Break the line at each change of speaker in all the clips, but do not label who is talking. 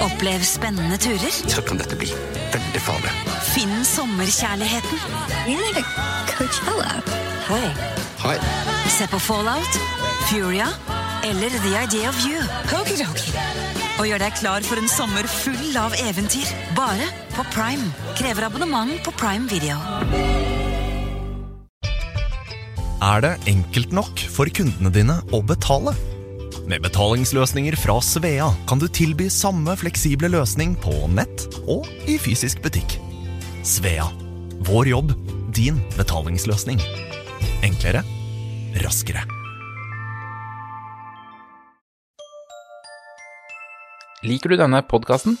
Opplev spennende turer.
Så kan dette bli veldig farlig.
Finn sommerkjærligheten. Hei.
Hei.
Se på Fallout, Furia eller The Idea of You. Og gjør deg klar for en sommer full av eventyr. Bare på Prime. Krever abonnement på Prime Video.
er det enkelt nok for kundene dine å betale. Med betalingsløsninger fra Svea kan du tilby samme fleksible løsning på nett og i fysisk butikk. Svea vår jobb, din betalingsløsning. Enklere, raskere.
Liker du denne podkasten?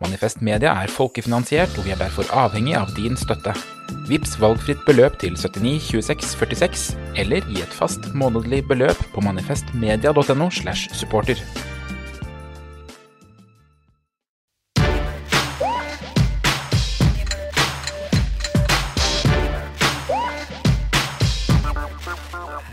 Manifest Media er folkefinansiert, og vi er derfor avhengig av din støtte. Vips valgfritt beløp til 79 26 46, eller gi et fast månedlig beløp på manifestmedia.no. slash supporter.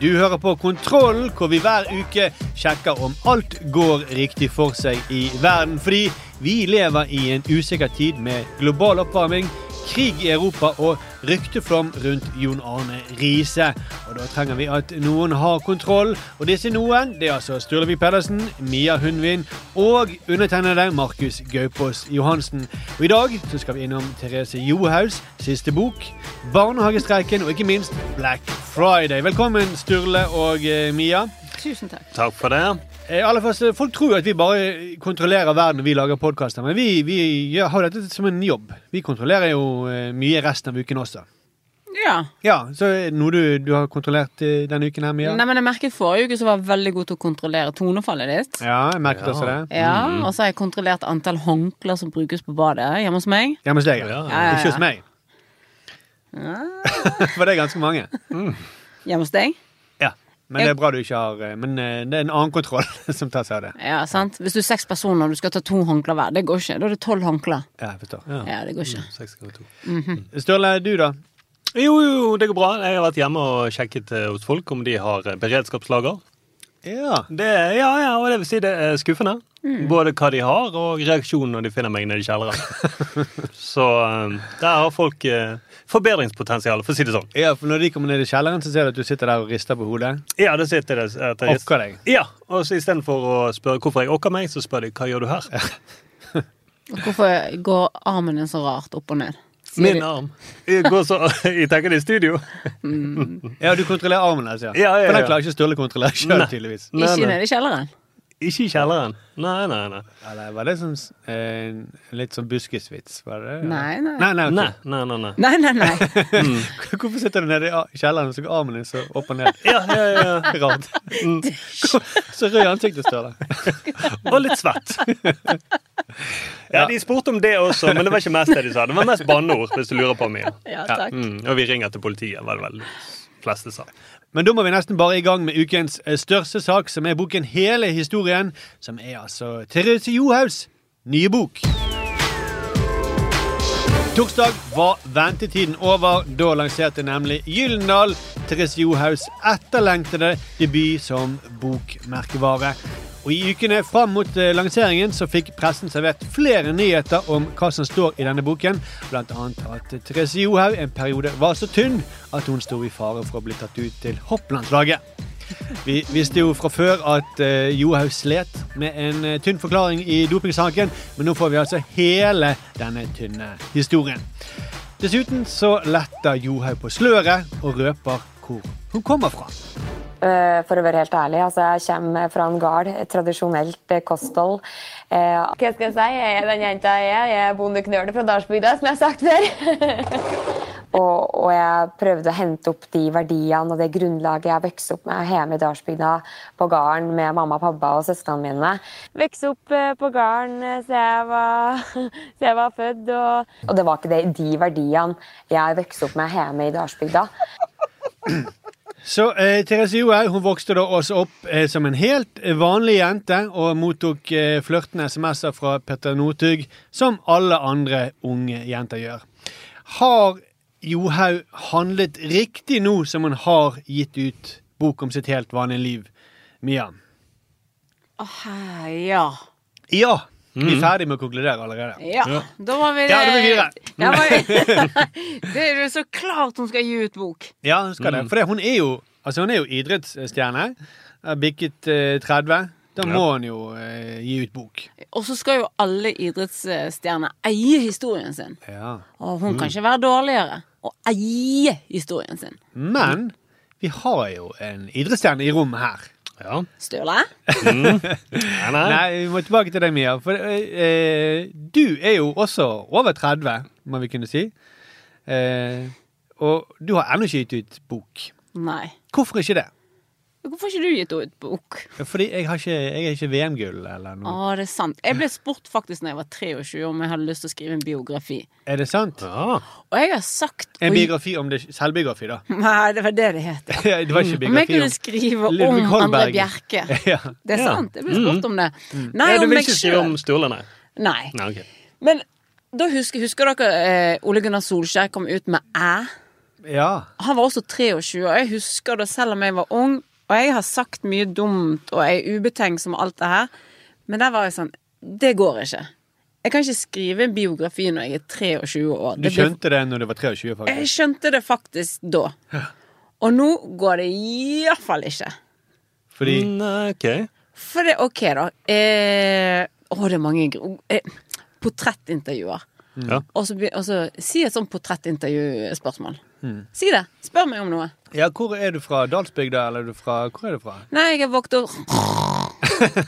Du hører på Kontroll, hvor vi hver uke sjekker om alt går riktig for seg i verden. Fordi vi lever i en usikker tid med global oppvarming, krig i Europa og rykteflom rundt Jon Arne Riise. Og da trenger vi at noen har kontroll, og disse noen det er altså Sturlevik Pedersen, Mia Hundvin og undertegnede Markus Gaupås Johansen. Og i dag så skal vi innom Therese Johaugs siste bok, barnehagestreiken og ikke minst Black Friday. Velkommen, Sturle og eh, Mia.
Tusen takk.
Takk for det.
Eh, aller først, eh, Folk tror jo at vi bare kontrollerer verden når vi lager podkaster, men vi, vi gjør, har jo dette som en jobb. Vi kontrollerer jo eh, mye resten av uken også.
Ja.
Ja, Så er det noe du, du har kontrollert eh, denne uken her, Mia?
Nei, men jeg merket forrige uke så var jeg veldig god til å kontrollere tonefallet ditt.
Ja, jeg merket også det.
Ja, Og så har jeg kontrollert antall håndklær som brukes på badet hjemme hos meg.
Hjemme hos deg, ja.
Ja, ja, Ah. ja.
Ikke hos meg. For det er ganske mange.
Hjemme hos deg.
Ja. Men det er bra du ikke har eh, Men eh, det er en annen kontroll som tar seg av det.
Ja, sant? Hvis du er seks personer og du skal ta to håndklær hver, det går ikke. Da er det tolv håndklær.
Ja, jeg forstår.
Ja, det går ikke.
Sturle, du, da?
Jo, jo, det går bra. Jeg har vært hjemme og sjekket eh, hos folk om de har eh, beredskapslager.
Ja.
Det, ja, ja, og det vil si det er skuffende.
Mm.
Både hva de har, og reaksjonen når de finner meg nede i kjelleren. så eh, der har folk eh, forbedringspotensial, for å si det sånn.
Ja, for Når de kommer ned i kjelleren, så ser du at du sitter der og rister på hodet.
Ja, det sitter det et rist.
Okker deg.
Ja, og så istedenfor å spørre hvorfor jeg okker meg, så spør de hva gjør du her?
Og Hvorfor går armen din så rart opp og ned? Mm. Sier
Min
de-
arm. Jeg, går så, jeg tenker det er studio.
Ja, du kontrollerer armen altså.
Ja, ja,
For den
ja.
klarer ikke Sturle å kontrollere sjøl, tydeligvis.
Nei,
Ikke
nei.
nede i kjelleren.
Ikke i kjelleren. Nei, nei, nei.
Eller var det sånn eh, litt sånn buskesvits? Var det, det?
Nei, nei.
Nei, nei, ok.
Nei, nei, nei, nei.
Nei, nei, nei.
Hvorfor sitter du nede i a- kjelleren og så går armen din så opp og ned?
Ja, ja, ja.
Rart. Så rød i ansiktet, Sturle.
Og litt svett. Ja, De spurte om det også, men det var ikke mest det de sa. Det var mest banneord, hvis du lurer på mye.
Ja, takk.
Mm, og vi ringer til politiet, var det vel de fleste sa.
Men da må vi nesten bare i gang med ukens eh, største sak, som er boken Hele historien, som er altså Therese Johaugs nye bok. Torsdag var ventetiden over. Da lanserte nemlig Gyldendal Therese Johaugs etterlengtede debut som bokmerkevare. Og I ukene fram mot eh, lanseringen så fikk pressen servert flere nyheter om hva som står i denne boken, bl.a. at Therese Johaug en periode var så tynn at hun sto i fare for å bli tatt ut til hopplandslaget. Vi visste jo fra før at eh, Johaug slet med en eh, tynn forklaring i dopingsaken, men nå får vi altså hele denne tynne historien. Dessuten så letter Johaug på sløret og røper hvor hun kommer fra.
eh, for å være helt ærlig. Altså, jeg kommer fra en gard, et tradisjonelt eh, kosthold. Eh, Hva skal jeg si? Jeg er den jenta jeg er. Jeg er bondeknølet fra dalsbygda, som jeg har sagt før. og, og jeg prøvde å hente opp de verdiene og det grunnlaget jeg vokste opp med hjemme i dalsbygda, på gården med mamma, pappa og søstrene mine. Vokste opp eh, på gården eh, så jeg var, så jeg var født, og Og det var ikke det, de verdiene jeg vokste opp med hjemme i dalsbygda.
Så eh, Therese Johaug hun vokste da også opp eh, som en helt vanlig jente og mottok eh, flørtende SMS-er fra Petter Northug, som alle andre unge jenter gjør. Har Johaug handlet riktig nå som hun har gitt ut bok om sitt helt vanlige liv? Mia?
Å, hei, ja.
Ja! Vi er ferdig med å konkludere allerede.
Ja, da var vi
Ja, da var vi videre.
Ja, var vi- det er jo så klart hun skal gi ut bok.
Ja, hun skal det. For det, hun er jo, altså, hun er jo idrettsstjerne. Har bikket eh, 30. Da må hun jo eh, gi ut bok.
Og så skal jo alle idrettsstjerner eie historien sin.
Ja.
Og hun kan ikke være dårligere. Å eie historien sin.
Men vi har jo en idrettsstjerne i rommet her.
Ja.
Sturle?
Nei, nei.
Nei, vi må tilbake til deg, Mia. For eh, du er jo også over 30, må vi kunne si. Eh, og du har ennå ikke gitt ut bok.
Nei.
Hvorfor ikke det?
Hvorfor har ikke du gitt henne ut bok?
Fordi jeg, har ikke, jeg er ikke VM-gull eller
Å,
noe.
det er sant. Jeg ble spurt faktisk når jeg var 23 om jeg hadde lyst til å skrive en biografi.
Er det sant?
Ja.
Og jeg har sagt
En
Oi.
biografi om det Selvbiografi, da.
Nei, det var det det het.
det var ikke
Om jeg
biografi
kunne
om
skrive
Ludvig
om André
Holberg.
Bjerke.
ja.
Det er
Ja. Mm-hmm. Mm.
sant. Jeg ble spurt om det. Nei,
Ja, du
om
vil
meg
ikke skrive om
sjøl.
Sturle, nei?
Nei.
Nei, ok.
Men da husker, husker dere eh, Ole Gunnar Solskjær kom ut med æ?
ja.
Han var også 23, og jeg husker det selv om jeg var ung. Og jeg har sagt mye dumt, og jeg er ubetenksom og alt det her. Men der var jeg sånn Det går ikke. Jeg kan ikke skrive en biografi når jeg er 23 år.
Du
Det blir-
skjønte det når du var 23,
Jeg
faktisk.
skjønte det faktisk da. Og nå går det iallfall ikke.
Fordi
Mm,
Nei, ok.
For det, ok, da. Eh, å, det er mange gro- eh, Portrettintervjuer.
Ja.
Og så be- og så si et sånt portrettintervjuspørsmål.
Mm.
Si det. Spør meg om noe.
Ja, hvor er du fra? Dalsbygda, eller er du fra Hvor er du fra?
Nei, jeg våknet opp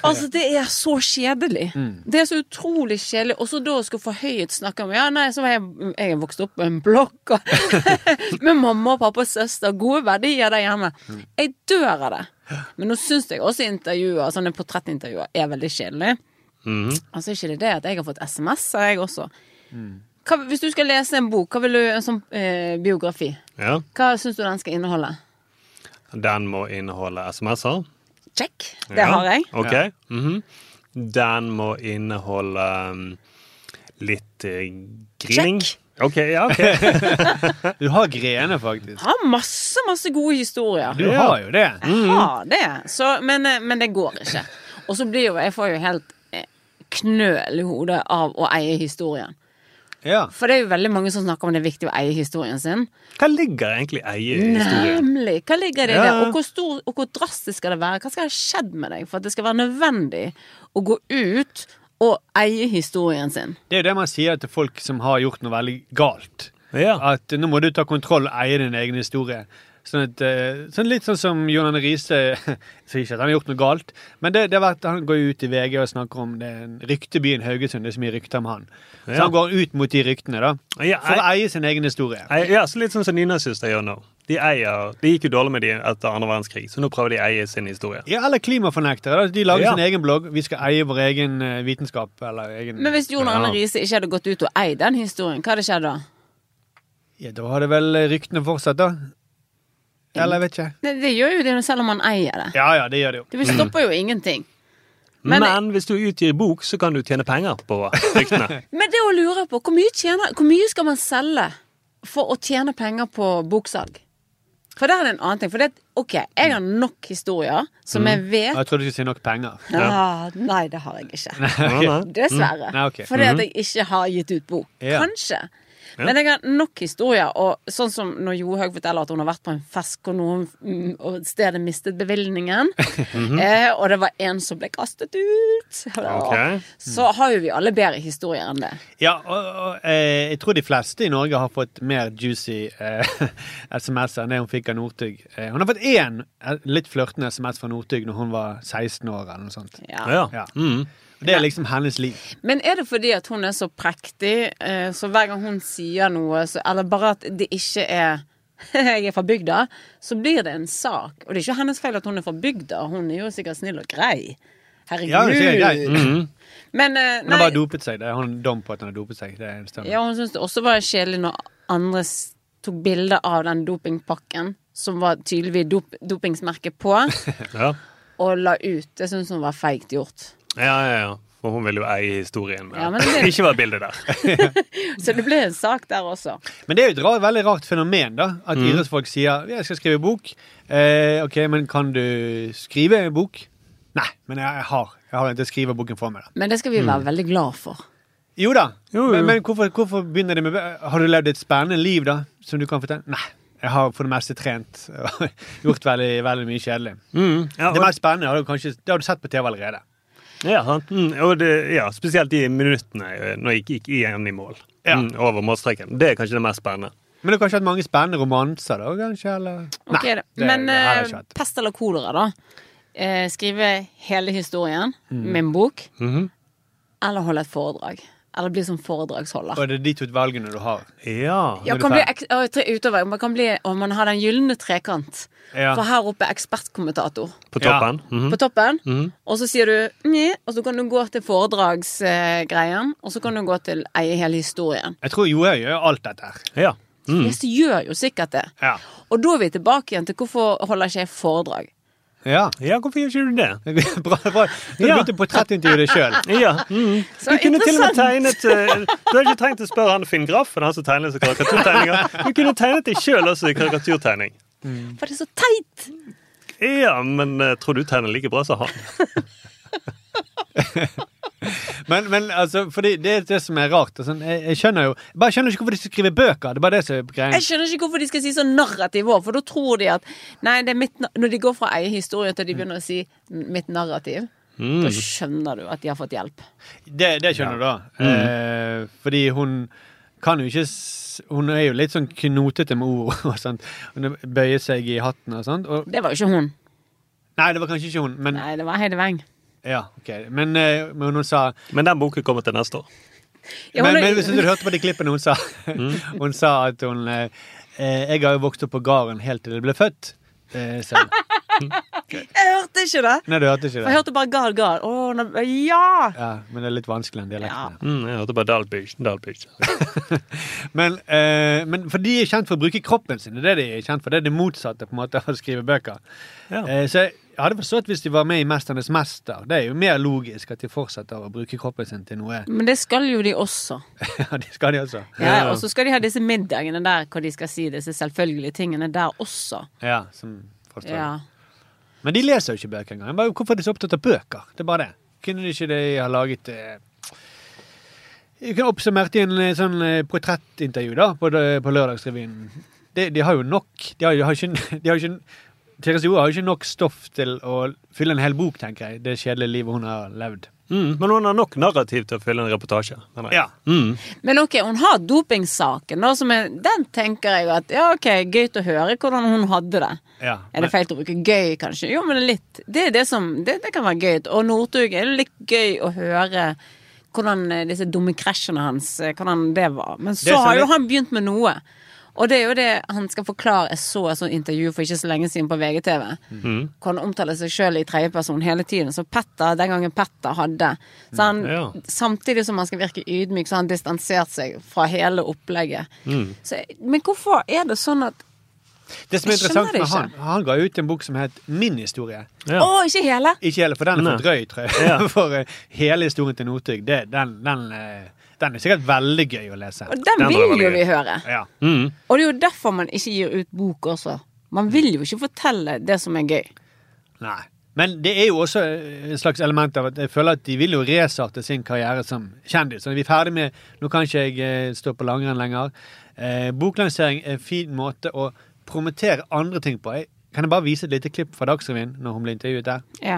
Altså, det er så kjedelig. Det er så utrolig kjedelig. Og så da å skulle forhøyet snakke om Ja, nei, så var jeg, jeg er vokst opp på en blokk og med mamma og pappa og søster. Gode verdier der hjemme. Jeg dør av det. Men nå syns jeg også intervjuer, sånne portrettintervjuer er veldig kjedelig. Altså, ikke det det at jeg har fått SMS-er, jeg også. Hva, hvis du skal lese en bok, hva vil du, en sånn eh, biografi,
Ja.
hva syns du den skal inneholde?
Den må inneholde SMS-er.
Check. Det har jeg.
Ok. Mhm. Den må inneholde um, litt eh, grining.
Check.
Ok, ja, ok.
Du har grene, faktisk.
har masse, masse gode historier.
Du har jo det.
Jeg har det, så, men, eh, men det går ikke. Og så blir jo Jeg får jo helt eh, knøl i hodet av å eie historien.
Ja.
For det er jo veldig mange som snakker om det er viktig å eie historien sin.
Hva ligger egentlig i eierhistorien?
Nemlig! Hva ligger det i
Ja,
det?
ja.
Og hvor stor og hvor drastisk skal det være? Hva skal ha skjedd med deg for at det skal være nødvendig å gå ut og eie historien sin?
Det er jo det man sier til folk som har gjort noe veldig galt.
Ja.
At nå må du ta kontroll og eie din egen historie. Sånn at, eh, sånn litt sånn som John Arne Riise sier ikke at han har gjort noe galt, men det, det har vært, han går jo ut i VG og snakker om den ryktebyen Haugesund. Det er så mye rykter om han. Så
Ja.
han går ut mot de ryktene, da.
Ja,
For å
jeg-
eie sin egen historie.
Ei- Ja, så Litt sånn som Nina syns de gjør nå. De eier, det gikk jo dårlig med de etter andre verdenskrig, så nå prøver de å eie sin historie.
Ja, eller klimafornektere. da. De lager
Ja.
sin egen blogg. Vi skal eie vår egen eh, vitenskap. Eller egen
Men hvis Jon Arne
Ja.
Riise ikke hadde gått ut og eid den historien, hva hadde skjedd da?
ja, Da har det vel eh, ryktene fortsatt, da. Eller jeg vet ikke.
Det, det gjør jo det selv om han eier det.
Ja ja, det gjør det jo.
Det stopper jo ingenting.
Men,
Men-
hvis du utgir bok, så kan du tjene penger på ryktene.
Men det å lure på, hvor mye, tjener, hvor mye skal man selge for å tjene penger på boksalg? For der er det en annen ting. For det, at, ok, jeg har nok historier som jeg vet
Jeg trodde du skulle si nok penger.
ah, Nei, det har jeg ikke.
Ja, nei.
Dessverre.
Mm. Nei, ok.
Fordi at jeg ikke har gitt ut bok.
Ja.
Kanskje. Men jeg har nok historier. Og sånn som når Johaug forteller at hun har vært på en fest hvor noen mm, og stedet mistet bevilgningen,
Mhm.
eh, og det var en som ble kastet ut,
Ok.
så har jo vi alle bedre historier enn det.
Ja, og, og eh, jeg tror de fleste i Norge har fått mer juicy eh, SMS enn det hun fikk av Northug. Eh, hun har fått én eh, litt flørtende SMS fra Northug når hun var 16 år eller noe sånt.
Ja.
Ja.
Ja.
Mm.
Og Det er liksom hennes liv.
Men er det fordi at hun er så prektig, eh, så hver gang hun sier noe, så, eller bare at det ikke er jeg er fra bygda, så blir det en sak. Og det er ikke hennes feil at hun er fra bygda. Hun er jo sikkert snill og grei.
Ja, hun er
Herregud.
sikkert grei.
Men eh,
Hun har
nei,
bare dopet seg. Det er hun dom på at hun har dopet seg. Det er en stund.
ja, hun syntes det også var kjedelig når andre s- tok bilder av den dopingpakken som var tydeligvis dop dopingsmerket på,
Ja.
og la ut. Det syntes hun var feigt gjort.
ja, ja, ja. For hun vil jo eie historien.
Ja, men det-
Ikke være bildet der.
Så det ble en sak der også.
Men det er jo et rar, veldig rart fenomen da at
Mm.
idrettsfolk sier 'jeg skal skrive bok'. Eh, ok, men kan du skrive en bok? Nei, men jeg, jeg har Jeg har ikke skriver boken for meg. da
Men det skal vi
Mm.
være veldig glad for.
Jo da, men, men hvorfor, hvorfor begynner det med Har du levd et spennende liv, da? Som du kan fortelle? Nei. Jeg har for det meste trent og gjort veldig, veldig mye kjedelig.
Mm. Ja,
Det
og-
mest spennende har du kanskje Det har du sett på TV allerede.
Ja, sant. Mm, og det, ja, spesielt de minuttene eh, når jeg gikk igjen i mål.
Ja.
Mm, over målstreken. Det er kanskje det mest spennende.
Men du har kanskje hatt mange spennende romanser, da? kanskje? Eller?
Ok, da.
det-
Men
det har jeg
eh,
ikke hatt.
pest eller kolera, da? Eh, skrive hele historien
Mm.
med en bok?
Mhm.
Eller holde et foredrag? Eller bli som foredragsholder?
Og det er de to valgene du har.
Ja.
Ja,
er du
kan bli,
ferdig?
ek- ja, tre utover, man kan bli om man har den gylne trekant.
Ja.
For her oppe er ekspertkommentator
På toppen. Mhm.
på toppen. Og så sier du nye, og så kan du gå til foredragsgreien. Og så kan du gå til eie hele historien.
Jeg tror Johaug gjør alt dette her.
Ja.
Mhm.
De fleste gjør jo sikkert det.
Ja.
Og da er vi tilbake igjen til hvorfor holder ikke jeg foredrag?
Ja.
ja, hvorfor gjør ikke du det?
bra, bra. Du
Ja.
begynte på portrettintervjuet deg sjøl.
Ja. mhm.
Så
Du kunne til
interessant.
og med tegnet eh, Du har ikke trengt å spørre han Finn Graff, for han som tegner så karikaturtegninger. Du kunne tegnet deg sjøl også i karikaturtegning.
For det er så teit!
Ja, men eh, tror du tegner like bra som han?
Men, men altså, fordi det er det som er rart. og sånn, jeg, jeg skjønner jo jeg bare skjønner ikke hvorfor de skal skrive bøker. Det er bare det som er greia.
Jeg skjønner ikke hvorfor de skal si så narrativ òg, for da tror de at Nei, det er mitt na- Når de går fra eie historie til de begynner å si mitt narrativ,
Mm.
da skjønner du at de har fått hjelp.
Det, det skjønner du, da. Eh, fordi hun kan jo ikke s- Hun er jo litt sånn knotete med ord og sånt. Hun bøyer seg i hatten og sånt. Og,
Det var jo ikke hun.
nei, det var kanskje ikke hun, men
Nei, det var Heidi Weng.
ja, ok. Men, eh, men hun sa
Men den boken kommer til neste år.
Ja,
Men,
hun er-
men hvis du hørte på de klippene hun sa Hun sa at hun eh, eh, Jeg har jo vokst opp på gården helt til jeg ble født. Eh, sa hun.
jeg hørte ikke det!
Nei, du hørte ikke
For jeg
det?
hørte bare gal, gal. Å, nå- ja!
Ja, men det er litt vanskelig, den dialekten.
Ja.
Mm, jeg hørte bare Dalbyg. Dalbyg.
Men, eh, men for de er kjent for å bruke kroppen sin. Det er det de er kjent for. Det er det motsatte på en måte av å skrive bøker.
Ja.
Eh, så jeg hadde forstått hvis de var med i 'Mesternes mester'. Det er jo mer logisk at de fortsetter å bruke kroppen sin til noe.
Men det skal jo de også.
ja, det skal de altså. også.
Ja, og så skal de ha disse middagene der hvor de skal si disse selvfølgelige tingene der også.
Ja, som forstår.
Ja.
Men de leser jo ikke bøker engang. Bare, Hvorfor er de så opptatt av bøker? Det er bare det. Kunne de ikke de ha laget eh, Jeg kunne oppsummert i en eh, sånn eh, portrettintervju da, på, det- på Lørdagsrevyen. De, de har jo nok De har, de har ikke, de har ikke Therese Joa har jo ikke nok stoff til å fylle en hel bok, tenker jeg. Det kjedelige livet hun har levd.
Mm, men hun har nok narrativ til å fylle en reportasje. mener
Ja.
jeg. Mm.
Men ok, hun har dopingsaken, da, som er, den tenker jeg jo at ja, ok, gøy til å høre hvordan hun hadde det.
Ja,
Er det
men-
feil å bruke gøy, kanskje? Jo, men litt. Det er det som Det, det kan være gøy. Og Northug er det litt gøy å høre hvordan eh, disse dumme krasjene hans eh, Hvordan det var. Men
Det
så
som
har
er-
jo han begynt med noe. Og det er jo det han skal forklare. Jeg så et sånt intervju for ikke så lenge siden på VGTV.
Mhm.
Hvor han omtaler seg sjøl i tredjeperson hele tiden. Så Petter, den gangen Petter hadde Så han,
Ja.
Samtidig som han skal virke ydmyk, så har han distansert seg fra hele opplegget.
Mm.
Så, men hvorfor er det sånn at
Det som er
Jeg skjønner
interessant
det
med han,
ikke.
han ga ut en bok som het Min historie.
Ja.
Å, ikke hele!
Ikke hele, for den er
Nei.
for drøy, tror jeg.
Ja.
For eh, hele historien til Northug, det- den, den, eh, den er sikkert veldig gøy å lese.
Og den
Den tror jeg
vil jo
var
vi
gøy.
høre.
Ja.
Mm.
Og det er jo derfor man ikke gir ut bok også. Man vil jo ikke fortelle det som er gøy.
Nei. Men det er jo også eh, et slags element av at jeg føler at de vil jo resarte sin karriere som kjendis. Så er vi ferdig med Nå kan ikke jeg eh, stå på langrenn lenger. Eh, boklansering er en fin måte å promotere andre ting på. Jeg, kan jeg bare vise et lite klipp fra Dagsrevyen når hun ble intervjuet der?
Ja.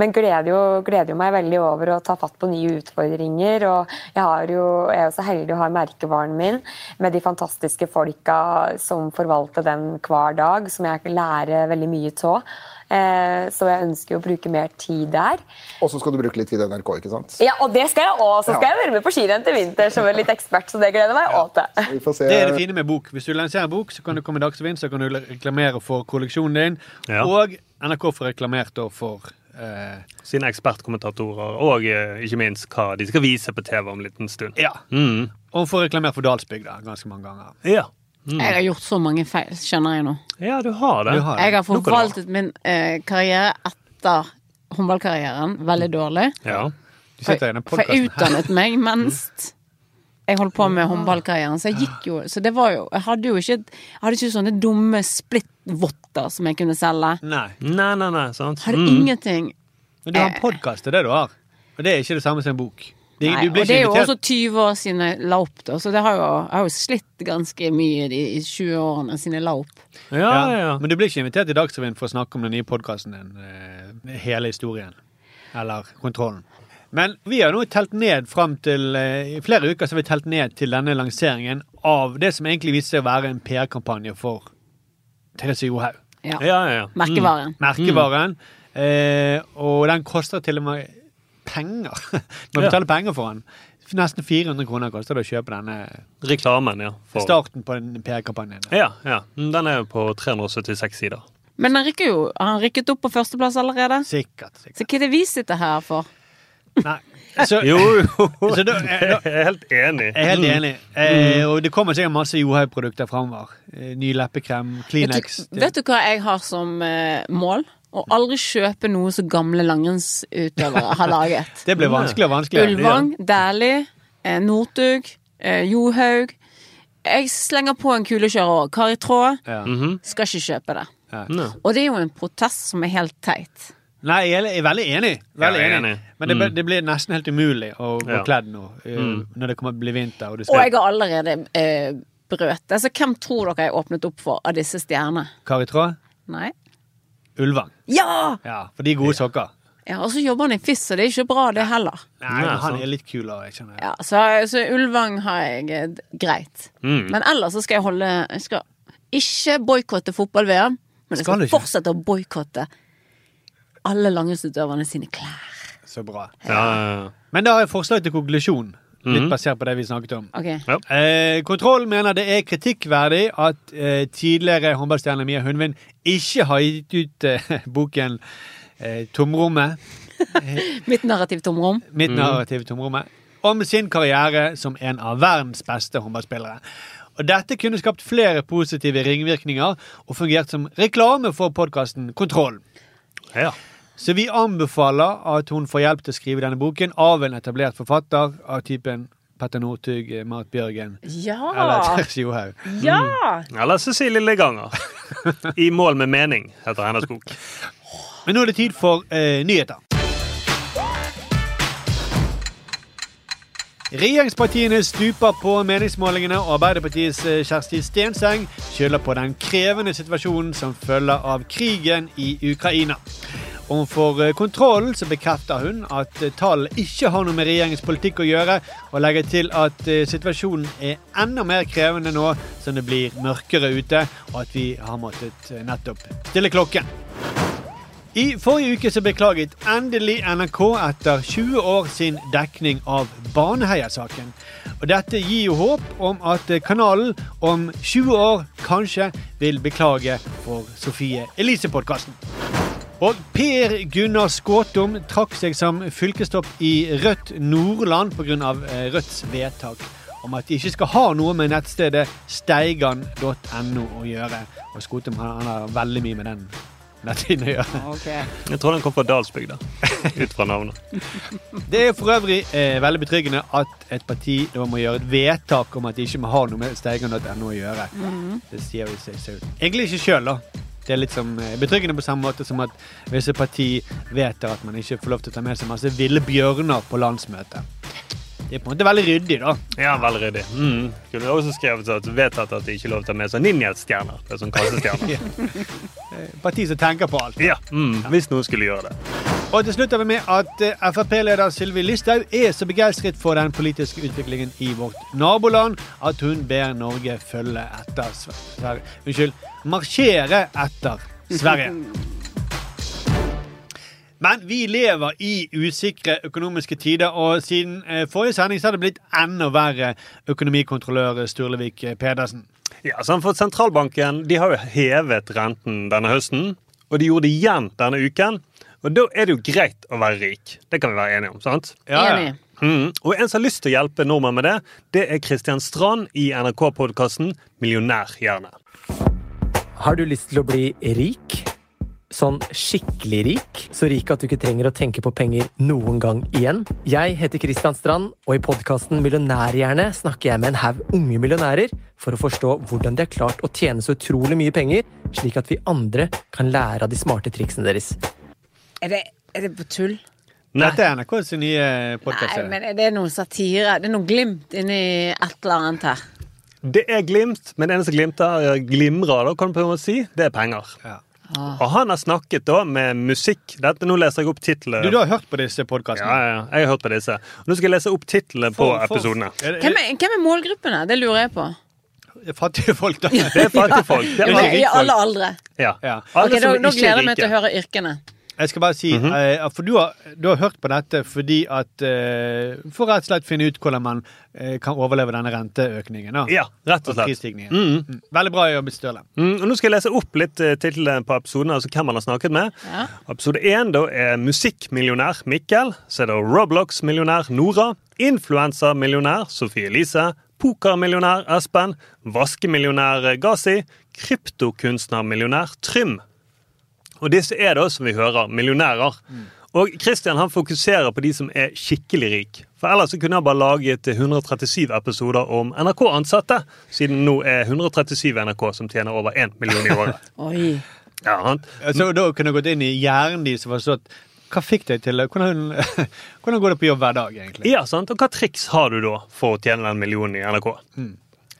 Men gleder jo, gleder jo meg veldig over å ta fatt på nye utfordringer. Og jeg, har jo, jeg er jo så heldig å ha merkevaren min med de fantastiske folka som forvalter den hver dag, som jeg lærer veldig mye av. Eh, Så jeg ønsker jo å bruke mer tid der.
Og så skal du bruke litt tid i NRK, ikke sant?
Ja, Og det skal jeg òg! Så skal
Ja.
jeg være med på skirenn til vinter som en litt ekspert, så det gleder jeg meg òg til.
Vi får se.
Det er det fine med bok. Hvis du lanserer bok, så kan du komme i Dagsrevyen, så kan du reklamere for kolleksjonen din.
Ja.
Og NRK får reklamert da for eh,
Sine ekspertkommentatorer, og eh, ikke minst hva de skal vise på TV om en liten stund.
Ja.
Mm.
Og får reklamert for Dalsbygda ganske mange ganger.
Ja.
Jeg har gjort så mange feil, skjønner jeg nå.
ja, du har det.
Du har det.
Jeg har
Nå kan du ha.
forvaltet min eh, karriere etter håndballkarrieren veldig dårlig.
Ja.
Du
For,
sitter i den
for jeg
podcasten her. Mm.
utdannet meg mens jeg holdt på med håndballkarrieren. Så jeg gikk jo Så det var jo Jeg hadde jo ikke, jeg hadde ikke sånne dumme splittvotter som jeg kunne selge.
Nei.
Nei, nei, nei. Sant?
Hadde
Mm.
ingenting.
Men du har en podkast, det er det du har. Og det er ikke det samme som en bok. Det,
Eh. Nei,
du blir
og det er
ikke
jo
invitert.
også 20 år siden jeg la opp, da, så det har jo, jeg har jo slitt ganske mye de 20 årene siden jeg la opp.
Ja,
ja,
ja, ja.
Men du blir ikke invitert i Dagsrevyen for å snakke om den nye podkasten din. eh, Hele historien. Eller kontrollen. Men vi har nå telt ned fram til eh, I flere uker så har vi telt ned til denne lanseringen av det som egentlig viste seg å være en PR-kampanje for Therese Johaug.
Ja.
ja, ja, Mm.
Mm.
ja.
Merkevaren.
Merkevaren. Eh, og den koster til og med penger. Man
Ja.
betaler penger for den. Nesten 400 kroner koster det å kjøpe denne
Reklamen, ja. for-
starten på den PR-kampanjen.
Ja, ja. Mm, Den er jo på 376 sider.
Men han rykker jo har han rykket opp på førsteplass allerede.
Sikkert. sikkert.
Så hva er det vi sitter her for?
Nei. Så,
Jo, jo.
så da, eh, da,
Jeg er helt enig.
jeg er helt enig. Eh,
Mm.
og det kommer sikkert masse Johaug-produkter framover. Eh, ny leppekrem, Kleenex
Vet du, vet du hva jeg har som eh, mål? Å aldri kjøpe noe som gamle langrennsutøvere har laget.
Det blir vanskeligere og vanskeligere.
Ulvang, Dæhlie, eh, Northug, eh, Johaug. Jeg slenger på en kulekjører òg. Kari Traa.
Ja.
Skal ikke kjøpe det.
Nei.
Og det er jo en protest som er helt teit.
Nei, jeg er- jeg er veldig enig. Veldig
Jeg er
enig.
enig.
Men det,
Mm.
ble- det blir nesten helt umulig å gå
Ja. Mm.
kledd nå eh, når det kommer til å bli vinter. Og du
Og
skal
jeg har allerede eh, brøt. Altså, hvem tror dere jeg åpnet opp for av disse stjernene?
Kari Traa,
Nei?
Ulvang.
Ja!
Ja, for de er gode sokker.
ja! Og så jobber han i fiss, og det er ikke bra, det heller.
Nei,
Nei,
men han
sant.
er litt kulere, jeg skjønner.
Ja, så, så Ulvang har jeg eh, d- greit. Men ellers så skal jeg holde Jeg skal ikke boikotte fotball-VM, men
Skal
jeg skal,
du ikke?
fortsette å boikotte alle langrennsutøverne sine klær.
Så bra.
Ja, ja, ja.
Men da har jeg forslag til konklusjon,
Mm.
litt basert på det vi snakket om.
Ok,
Ja.
Eh, kontrollen mener det er kritikkverdig at eh, tidligere håndballstjerne Mia Hundvin ikke har gitt ut eh, boken eh, Tomrommet,
Mitt narrativ tomrom.
mitt narrativ Tomrommet, om sin karriere som en av verdens beste håndballspillere. Og Dette kunne skapt flere positive ringvirkninger og fungert som reklame for podkasten Kontroll.
ja.
Så vi anbefaler at hun får hjelp til å skrive denne boken av en etablert forfatter av typen Petter Northug, eh, Marit Bjørgen eller
Ja!
Therese Johaug.
Ja!
Eller Cecilie Leganger. I mål med mening, heter hennes bok.
Men nå er det tid for eh, nyheter. Regjeringspartiene stuper på meningsmålingene, og Arbeiderpartiets eh, Kjersti Stenseng skylder på den krevende situasjonen som følger av krigen i Ukraina. Overfor eh, kontrollen så bekrefter hun at eh, tallene ikke har noe med regjeringens politikk å gjøre, og legger til at eh, situasjonen er enda mer krevende nå som det blir mørkere ute, og at vi har måttet eh, nettopp stille klokken. I forrige uke så beklaget endelig NRK etter 20 år sin dekning av Baneheia-saken. Og Dette gir jo håp om at kanalen om 20 år kanskje vil beklage for Sofie Elise-podkasten. Og Per Gunnar Skåtum trakk seg som fylkestopp i Rødt Nordland pga. eh, Rødts vedtak om at de ikke skal ha noe med nettstedet steigan.no å gjøre. Og Skåtum han, han har veldig mye med den nettsiden å gjøre.
Jeg tror den kom fra Dalsbygda, ut fra navnet.
Det er for øvrig eh, veldig betryggende at et parti nå må gjøre et vedtak om at de ikke må ha noe med steigan.no å gjøre. Det sier jo seg selv. Egentlig ikke sjøl, da. Det er litt som eh, betryggende på samme måte som at visse parti vedtar at man ikke får lov til å ta med seg masse ville bjørner på landsmøtet. Det er på en måte veldig ryddig, da.
Ja, veldig ryddig. Mm. Skulle også skrevet at vedtatt at de ikke lov til å ta med seg ninjastjerner. Det er sånn kassestjerner.
Parti som tenker på alt.
ja, mm. Hvis noen skulle gjøre det.
Og til slutt er vi med at eh, Frp-leder Sylvi Listhaug er så begeistret for den politiske utviklingen i vårt naboland at hun ber Norge følge etter Sve- Sverige. Unnskyld, marsjere etter Sverige. Men vi lever i usikre økonomiske tider, og siden eh, forrige sending så har det blitt enda verre, økonomikontrollør Sturlevik eh, Pedersen.
Ja, sånn for Sentralbanken de har jo hevet renten denne høsten, og de gjorde det igjen denne uken. Og da er det jo greit å være rik. Det kan vi være enige om. sant?
Enig.
Mm. Og en som har lyst til å hjelpe nordmenn med det, det er Kristian Strand i NRK-podkasten Millionærhjerne.
Har du lyst til å bli rik? Sånn skikkelig rik? Så rik at du ikke trenger å tenke på penger noen gang igjen? Jeg heter Kristian Strand, og i podkasten Millionærhjerne snakker jeg med en haug unge millionærer for å forstå hvordan de har klart å tjene så utrolig mye penger, slik at vi andre kan lære av de smarte triksene deres.
Er det, er det på tull?
Nei.
Dette er NRKs nye
Nei,
podkast.
men er det noe satire? Det er noe glimt inni et eller annet her.
Det er glimt, men det eneste glimter, glimrer, da, kan man prøve å si, det er penger.
Ja.
Ah.
Og han har snakket da med musikk. Dette, nå leser jeg opp
Du,
titlene.
du har hørt på disse
Ja,
podkastene?
ja, ja. Jeg har hørt på disse. Og nå skal jeg lese opp titlene på episodene.
Hvem er, hvem er målgruppene? Det lurer jeg på.
Fattige folk, da.
Det er fattige folk. Det er
Men
bare
det er I
rikfolk.
alle aldre.
Ja.
Ja.
Alle
Ok, da,
som
nå
ikke
gleder
er
jeg meg til å
rike.
høre yrkene.
Jeg skal bare si,
Mhm.
eh, for du har, du har hørt på dette fordi at eh, For rett og slett finne ut hvordan man eh, kan overleve denne renteøkningen. Da.
Ja, rett og slett. Mhm.
prisstigningen. Mm. Veldig bra jobb, Støle.
Mm, og nå skal jeg lese opp litt eh, titlene på episodene, altså hvem han har snakket med.
Ja.
Episode 1 da er musikkmillionær Mikkel, så er det Roblox-millionær Nora, influensermillionær Sofie Elise, pokermillionær Espen, vaskemillionær eh, Gazi, kryptokunstnermillionær Trym. Og disse er da, som vi hører, millionærer.
Mm.
Og Christian han fokuserer på de som er skikkelig rik. For ellers så kunne han bare laget 137 episoder om NRK-ansatte, siden nå er 137 NRK som tjener over 1 million i året.
Oi.
Ja, han.
Eh, Så da kunne jeg gått inn i hjernen deres og forstått hva fikk deg til det? Hvordan, hvordan går det på jobb hver dag, egentlig?
ja, sant? Og hva triks har du da for å tjene den millionen i NRK?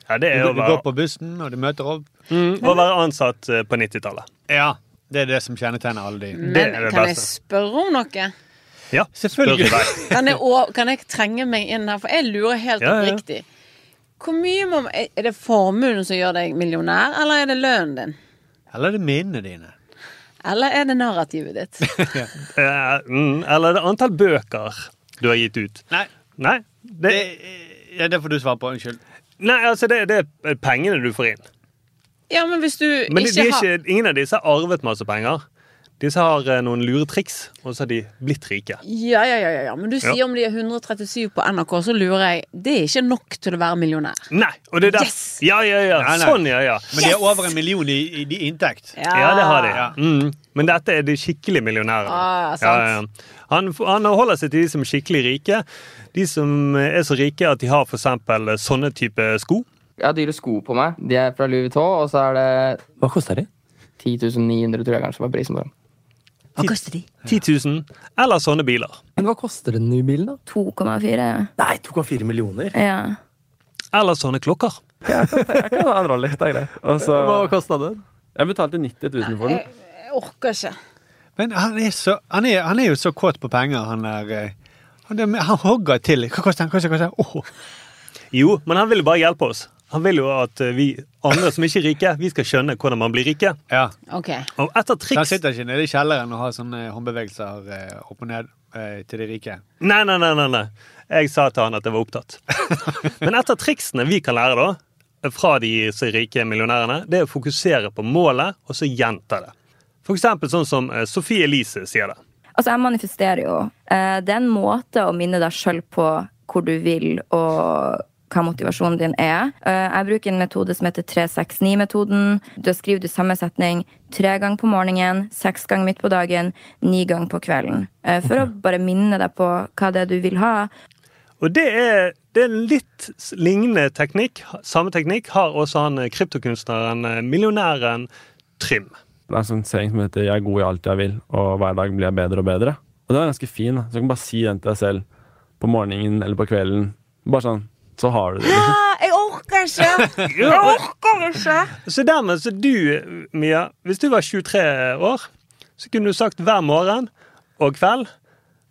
Ja,
Mm.
det
Du,
er å
du går
være,
på bussen, og du møter opp.
mm, å være ansatt eh, på 90-tallet.
Ja, det er det som kjennetegner alle de.
Det
Men
er det
kan jeg
beste.
spørre om noe?
Ja,
Selvfølgelig.
spør du deg.
Kan jeg, å- kan jeg trenge meg inn her? For jeg lurer helt
Ja, ja.
oppriktig. Hvor mye må Er det formuen som gjør deg millionær, eller er det lønnen din?
Eller er det minnene dine?
Eller er det narrativet ditt?
Eh, mm, Eller er det antall bøker du har gitt ut?
Nei,
Nei, det,
det, eh, ja, det får du svare på. Unnskyld.
nei altså det, det er pengene du får inn.
Ja, men hvis du
Men de,
ikke,
de er
har
ikke, ingen av disse har arvet masse penger. Disse har eh, noen lure triks, og så har de blitt rike.
ja, ja, ja, ja, ja, men du sier
Ja.
om de er 137 på NRK, så lurer jeg Det er ikke nok til å være millionær.
Nei, og det er der.
Yes!
Ja, ja, ja.
Nei, nei.
Sånn, ja, ja.
Men de har over en million i, i, i inntekt.
Ja, det har de.
Ja.
Mm. Men dette er de skikkelig millionærene.
Ah, sant.
ja. Han, han holder seg til de som er skikkelig rike. De som eh, er så rike at de har for eksempel eh, sånne type sko.
Jeg har dyre sko på meg. De er fra Louis Vuitton, og så er det
Hva koster det?
10.900, tror jeg kanskje var prisen på dem.
Hva koster de?
10 000. Eller sånne biler.
Men hva koster den nye bilen, da?
2,4.
Nei, 2,4 millioner.
Ja.
Eller sånne klokker.
Hva kosta den?
Jeg orker ikke.
Men han er, så, han, er, han er jo så kåt på penger, han der eh, Han, der med- han hogger til. Hva koster han? Hva koster han? Hva koster han? Åh.
Jo, men han vil jo bare hjelpe oss. Han vil jo at eh, vi andre som ikke er rike, vi skal skjønne hvordan man blir rike.
Ja.
OK.
Og
Så
etter
Han
triks
sitter ikke nede i kjelleren og har sånne håndbevegelser eh, opp og ned eh, til de rike.
Nei, nei, nei, nei, nei. Jeg sa til han at jeg var opptatt. Men et av triksene vi kan lære da, fra de så rike millionærene, det er å fokusere på målet, og så gjenta det. For eksempel sånn som eh, Sophie Elise sier det.
Altså, jeg manifesterer jo. Eh, Det er en måte å minne deg sjøl på hvor du vil, og hva motivasjonen din er. Eh, Jeg bruker en metode som heter 369-metoden. Da skriver du samme setning tre ganger på morgenen, seks ganger midt på dagen, ni ganger på kvelden. Eh, For å bare minne deg på hva det er du vil ha.
Og det er, det er en litt s- lignende teknikk. Samme teknikk har også han eh, kryptokunstneren, eh, millionæren Trym.
Det er en sånn saying som heter 'Jeg er god i alt jeg vil', og hver dag blir jeg bedre og bedre. Og den er ganske fin. da. Så du kan bare si den til deg selv på morgenen eller på kvelden. Bare sånn. Så har du det. liksom.
Jeg orker ikke! Jeg orker ikke!
Så dermed, så du, Mia, hvis du var 23 år, så kunne du sagt hver morgen og kveld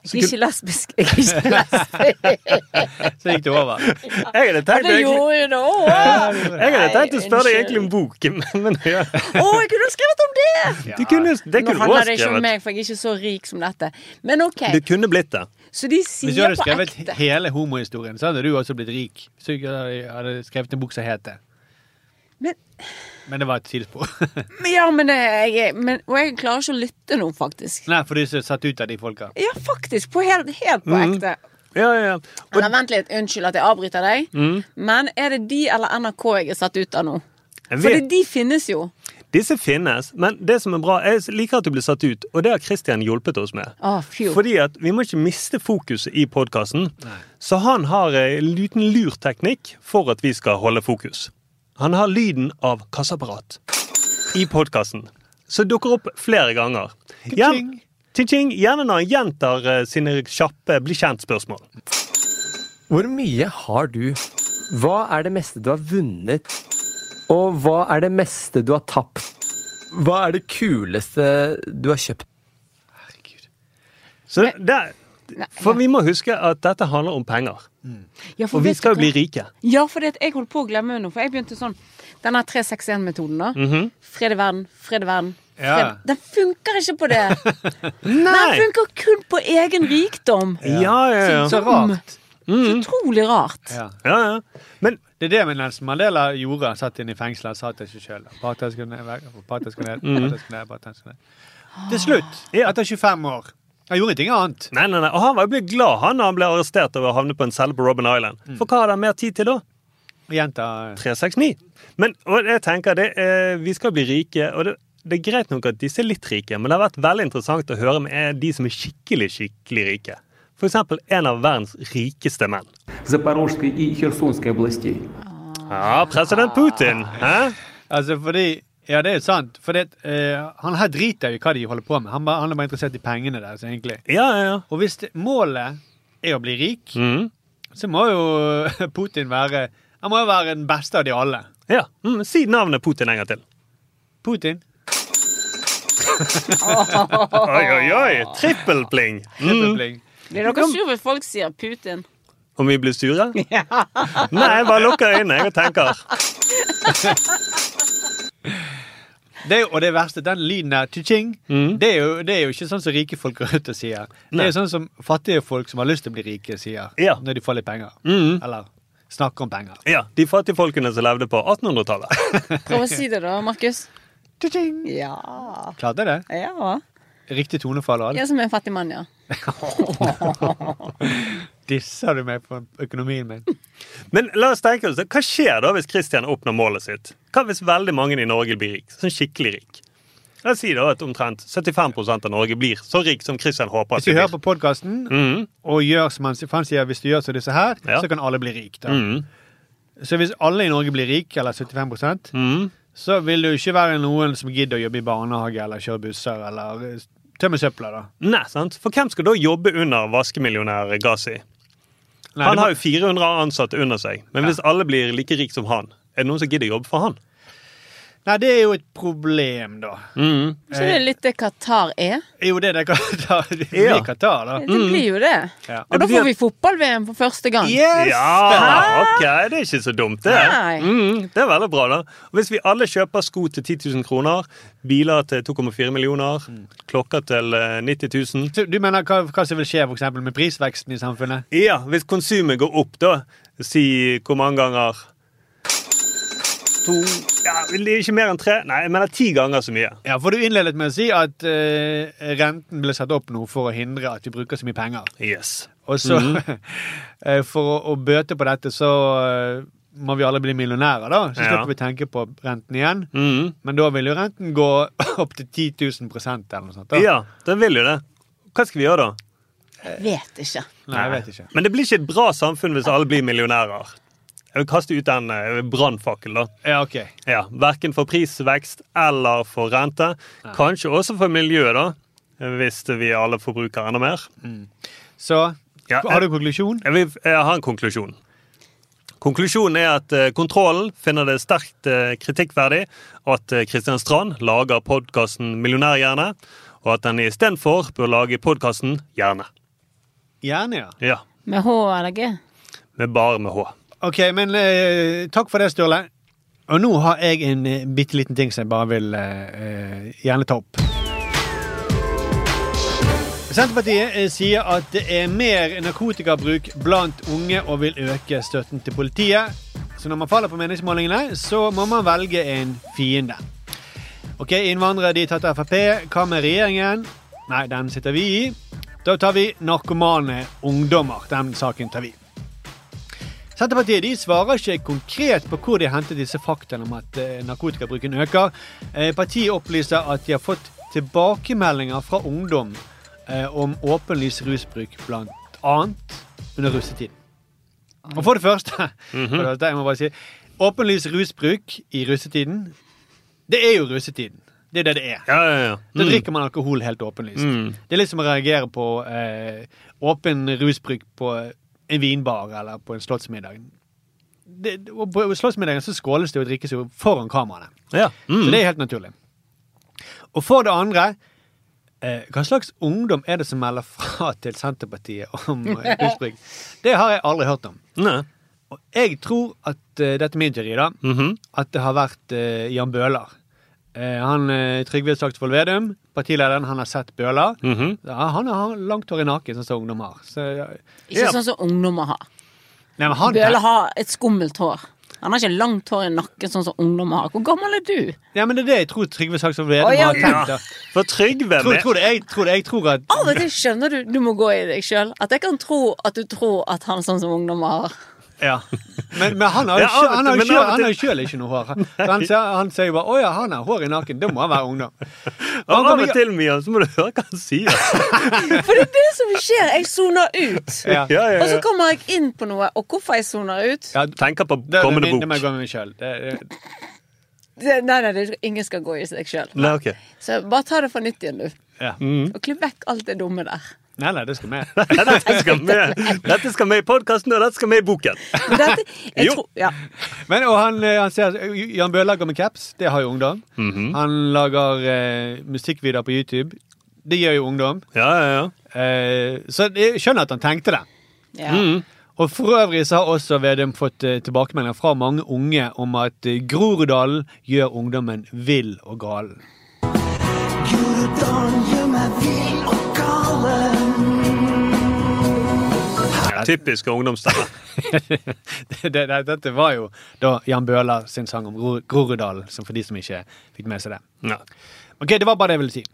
Jeg er ikke lesbisk. Jeg er ikke lesbisk.
Så gikk det over.
Jeg hadde tenkt,
Det gjorde jeg da også.
jeg hadde tenkt å spørre deg egentlig om bok, men ja.
Å, jeg kunne ha skrevet om det!
Du kunne, det
Nå
kunne du
handler
også
det ikke om
skrevet.
meg, for jeg er ikke så rik som dette. Men ok,
Du kunne blitt det.
så de
Hvis du hadde
sier på
skrevet
ekte
hele homohistorien, så hadde du også blitt rik. Hvis du ikke hadde hadde skrevet en bok som het det.
Men-
Men det var et sidespor.
Men Ja, men det, jeg, er- men, og jeg klarer ikke å lytte nå, faktisk.
Nei, for du er satt ut av de folka.
Ja, faktisk. På helt, helt på
Mm.
Mhm.
ekte.
Ja, ja.
Eller vent litt, unnskyld at jeg avbryter deg.
Mhm.
Men er det de eller NRK jeg er satt ut av nå?
Jeg
Fordi
vet-
de finnes jo.
Disse finnes, men det som er bra, jeg liker at du blir satt ut, og det har Christian hjulpet oss med.
Å, phew.
Fordi at vi må ikke miste fokuset i podkasten. Så han har en liten lurteknikk for at vi skal holde fokus. Han har lyden av kasseapparat i podkasten, som dukker opp flere ganger. Gjerne, Ting-ting, gjerne når han gjentar eh, sine kjappe bli kjent-spørsmål.
Hvor mye har du? Hva er det meste du har vunnet? Og hva er det meste du har tapt? Hva er det kuleste du har kjøpt?
Så det, for vi må huske at dette handler om penger.
Ja, for
Og vi
vet du
skal jo
hva?
bli rike.
Ja, for jeg holdt på å glemme noe. For jeg begynte sånn Denne 361-metoden, da.
Mhm.
Fred i verden, fred i verden.
Ja.
Fred. Den funker ikke på det!
Nei.
Den funker kun på egen rikdom.
Ja, ja, ja.
Så
Så rart.
Så utrolig rart.
Ja.
ja. Men
det er det med Nelson Mandela gjorde. Han satt inn i fengselet og sa til seg sjøl Pater skal ned, pater skal ned,
Mm.
pater skal ned, pater skal ned. Til slutt, etter 25 år Han gjorde ingenting annet.
Nei, nei, nei. Og han var jo blitt glad han når han ble arrestert over å havne på en celle på Robben Island. For hva hadde han mer tid til da?
Jenta
369. Men og jeg tenker, det, eh, vi skal bli rike, og det, det er greit nok at disse er litt rike, men det har vært veldig interessant å høre med eh, de som er skikkelig, skikkelig rike. For eksempel en av verdens rikeste menn.
Запорожской и Херсонской областей.
Ah. Ja, president Putin. Hæ?
Altså, fordi Ja, det er sant. For det, eh, han her driter jo i hva de holder på med. Han, bare, han er bare interessert i pengene deres, egentlig. Og hvis det, målet er å bli rik,
Mm.
så må jo Putin være Han må jo være den beste av de alle.
Ja. Mm, si navnet Putin en gang til.
Putin.
Oi, oi, oi! Trippelpling. Mm.
Trippelpling.
Blir dere sure hvis folk sier Putin?
Om vi blir sure? Nei, jeg bare lukker øynene jeg, og tenker.
Det er, jo- og det verste, den lyden der, ching det, er jo, det er jo ikke sånn som rike folk går ut og sier. Det er
Mm. Nei.
jo sånn som fattige folk som har lyst til å bli rike, sier når de får litt penger.
Mm.
Eller snakker om penger.
Ja, De fattige folkene som levde på 1800-tallet.
Prøv å si det, da, Markus. Ja.
Klarte jeg det?
ja.
Riktig tonefall og alt.
Jeg som er en fattig mann, ja.
Disser du meg på økonomien min?
Men la oss tenke oss, det. hva skjer da hvis Christian oppnår målet sitt? Hva hvis veldig mange i Norge blir rik? Sånn skikkelig rik? La oss si da at omtrent 75 av Norge blir så rik som Christian håper
Hvis
at de
du hører
blir.
på podkasten
Mhm.
og gjør som han, han sier, hvis du gjør som disse her,
Ja.
så kan alle bli rik. Da.
Mhm.
Så hvis alle i Norge blir rik, eller 75
Mm.
så vil det jo ikke være noen som gidder å jobbe i barnehage eller kjøre busser eller eh, tømme søpla, da.
Nei, sant? For hvem skal da jobbe under vaskemillionær Gazi?
Nei,
han
det må-
har jo 400 ansatte under seg, men hvis alle blir like rik som han, er det noen som gidder jobbe for han?
Nei, det er jo et problem, da.
Mhm.
Så det er litt det Qatar er.
Jo, det er det Qatar. Det blir
Ja.
Qatar, da.
Det blir jo det.
Ja.
Og da får vi fotball-VM for første gang.
Ja, ok, det er ikke så dumt det.
Nei.
Mm, det er veldig bra da. Og hvis vi alle kjøper sko til 10 000 kroner, biler til 2,4 millioner, klokker til eh, 90 000.
Så Du mener hva, hva som vil skje for eksempel, med prisveksten i samfunnet?
Ja, hvis konsumet går opp da, si hvor mange ganger? To, ja, det er ikke mer enn tre. Nei, jeg mener ti ganger så mye.
Ja, for du innledet med å si at eh, renten ble satt opp nå for å hindre at vi bruker så mye penger.
Yes.
Og så,
Mhm.
eh, for å, å bøte på dette, så eh, må vi alle bli millionærer, da. Så
Ja.
slipper vi tenke på renten igjen.
Mhm.
Men da vil jo renten gå opp til 10 000 prosent eller noe sånt. Da.
Ja, den vil jo det. Hva skal vi gjøre da?
Vet ikke.
Nei, jeg vet ikke.
Men det blir ikke et bra samfunn hvis alle blir millionærer. kaste ut den eh, brannfakkelen, da.
Ja, ok.
Ja, Verken for prisvekst eller for rente. Kanskje også for miljøet, da. Hvis vi alle forbruker enda mer.
Så har du
konklusjon? Jeg, vil, jeg har en konklusjon. Konklusjonen er at eh, kontrollen finner det sterkt eh, kritikkverdig at eh, Kristian Strand lager podkasten Millionærhjerne, og at han istedenfor bør lage podkasten Hjerne.
Gjerne, ja.
Ja,
Med H eller G?
med bare med H.
Ok, men eh, takk for det, Sturle. Og nå har jeg en eh, bitte liten ting som jeg bare vil eh, eh, gjerne ta opp. Senterpartiet eh, sier at det er mer narkotikabruk blant unge og vil øke støtten til politiet. Så når man faller på meningsmålingene, så må man velge en fiende. Ok, innvandrere de er tatt av Frp. Hva med regjeringen? Nei, den sitter vi i. Da tar vi narkomane ungdommer. Den saken tar vi. Senterpartiet de svarer ikke konkret på hvor de hentet disse faktaene om at eh, narkotikabruken øker. Eh, partiet opplyser at de har fått tilbakemeldinger fra ungdom eh, om åpenlys rusbruk, blant annet under russetiden. Og for det første, for det første jeg må bare si, åpenlys rusbruk i russetiden, det er jo russetiden. Det er det det er. Da
Mm.
drikker man alkohol helt åpenlyst.
Mm.
Det er litt som å reagere på eh, åpen rusbruk på en vinbar eller på en slottsmiddag. Det, og på slottsmiddagen så skåles det og drikkes jo foran kameraene.
Mm,
Så det er helt naturlig. Og for det andre eh, Hva slags ungdom er det som melder fra til Senterpartiet om eh, rusbruk? Det har jeg aldri hørt om. Og jeg tror at eh, Dette er min teori, da.
Mm.
At det har vært eh, Jan Bøhler. Eh, han eh, Trygve Slagsvold Vedum, partilederen, han har sett Bøhler.
mm,
Ja, han har langt hår i naken, sånn som ungdom har. Så, ja.
Ikke sånn som ungdommer har.
Nei, men han,
Bøhle har et skummelt hår. Han har ikke langt hår i nakken, sånn som ungdommer har. Hvor gammel er du?
Ja, men det er det jeg tror Trygve Slagsvold Vedum
Å, ja,
har
ok.
tenkt. da.
For Trygve
tror, tror det, jeg, tror det, jeg tror at
Av og til skjønner du Du må gå i deg sjøl. At jeg kan tro at du tror at han er sånn som ungdommer har.
Ja. Men, men han har jo
Ja, av
sjøl-
og
han har jo
til- men
sjøl-
av og
han har jo
til-
sjøl ikke noe hår. Så han, sier- han sier jo bare 'Å ja, han har hår i naken'. Da må han være ungdom.
Og av og til, Mia, så må du høre hva han sier.
For det er det som skjer. Jeg soner ut.
Ja. Ja, ja, ja.
Og så kommer jeg inn på noe. Og hvorfor jeg soner ut?
Tenker på
det
kommende
min-
bok.
det må jeg gå med meg selv. Det- det-
Det, nei, nei, det, ingen skal gå i seg sjøl.
Nei, ok.
Så bare ta det fra nytt igjen, du.
Ja.
Mm.
Og klipp vekk alt det dumme der.
Nei, nei, det skal med.
dette, skal med. dette skal med i podkasten, og dette skal med i boken.
jeg tror- ja.
Men, og han, eh, han sier at Jan Bøhler går med caps. Det har jo ungdom. Han lager eh, musikkvideoer på YouTube. Det gjør jo ungdom. Eh, så jeg skjønner at han tenkte det.
Ja.
Mm.
Og for øvrig så har også Vedum fått eh, tilbakemeldinger fra mange unge om at eh, Groruddalen gjør ungdommen vill og galen.
Typisk ungdomsstemme.
det, det, dette var jo da Jan Bøhler sin sang om Gro- Groruddalen, som for de som ikke fikk med seg det. Ok, det var bare det jeg ville si.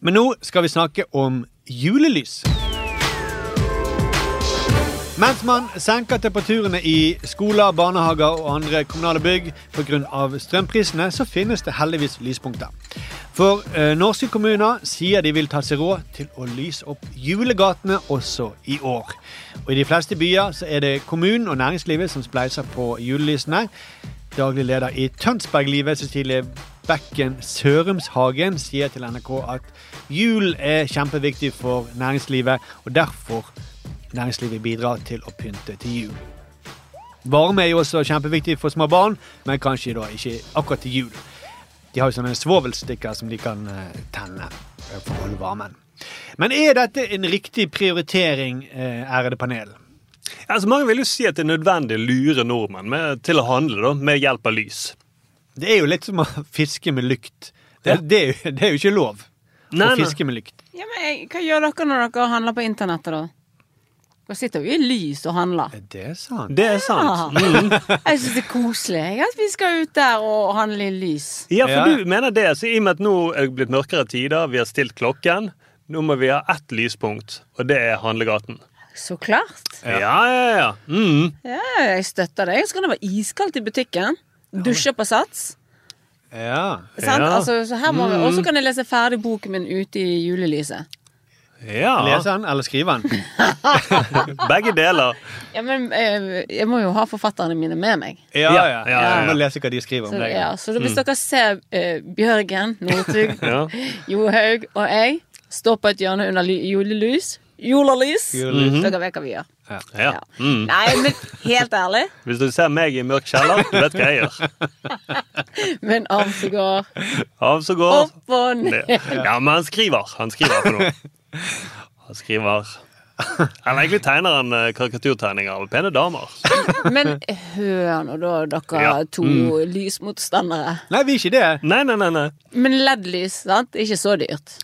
Men nå skal vi snakke om julelys. Mens man senker temperaturene i skoler, barnehager og andre kommunale bygg pga. strømprisene, så finnes det heldigvis lyspunkter. For eh, norske kommuner sier de vil ta seg råd til å lyse opp julegatene også i år. Og I de fleste byer så er det kommunen og næringslivet som spleiser på julelysene. Daglig leder i Tønsberglivet, Cecilie Bekken Sørumshagen, sier til NRK at julen er kjempeviktig for næringslivet, og derfor Næringslivet bidrar til å pynte til jul. Varme er jo også kjempeviktig for små barn, men kanskje da ikke akkurat til jul. De har jo sånne svovelstikker som de kan eh, tenne eh, for å holde varmen. Men er dette en riktig prioritering, eh, ærede panel?
Altså, mange vil jo si at det er nødvendig å lure nordmenn med, til å handle da, med hjelp av lys.
Det er jo litt som å fiske med lykt. Det, det, er, jo, det er jo ikke lov
Nei,
å
nei.
fiske med lykt.
Ja, men jeg, Hva gjør dere når dere handler på internettet, da? Da sitter vi i lys og handler.
Det er sant.
Det er
Ah.
Mhm.
Ja. Jeg syns det er koselig jeg, at vi skal ut der og handle i lys.
Ja, for du mener det, så i og med at nå er det blitt mørkere tider, vi har stilt klokken, nå må vi ha ett lyspunkt, og det er handlegaten.
Så klart.
Ja, ja, ja. Mm.
Ja, jeg støtter deg. Så kan det være iskaldt i butikken. Dusjer på sats.
Ja.
Sant? Altså, så her må vi, og så kan jeg lese ferdig boken min ute i julelyset.
Ja.
Lese den eller skrive den?
Begge deler.
Ja, men eh, jeg må jo ha forfatterne mine med meg.
Ja, ja. ja, ja,
ja.
Må lese hva de skriver
Så,
om deg.
ja, så hvis dere ser eh, Bjørgen, Northug,
Ja.
Johaug og jeg stå på et hjørne under ly- julelys Julelys!
Julelys. Mhm.
Dere vet hva vi gjør.
Ja. Mm.
Nei, men helt ærlig.
Hvis du ser meg i en mørk kjeller, du vet hva jeg gjør.
Med en arm som går
Av så går
opp og ned.
Ja, men han skriver. Han skriver på noe. Han skriver Eller egentlig tegner han eh, karikaturtegninger av pene damer.
Men hør nå, da, dere
Ja.
to
Mm.
lysmotstandere.
Nei, vi er ikke det.
Nei, nei, nei. Nei,
Men LED-lys, sant? Ikke så dyrt.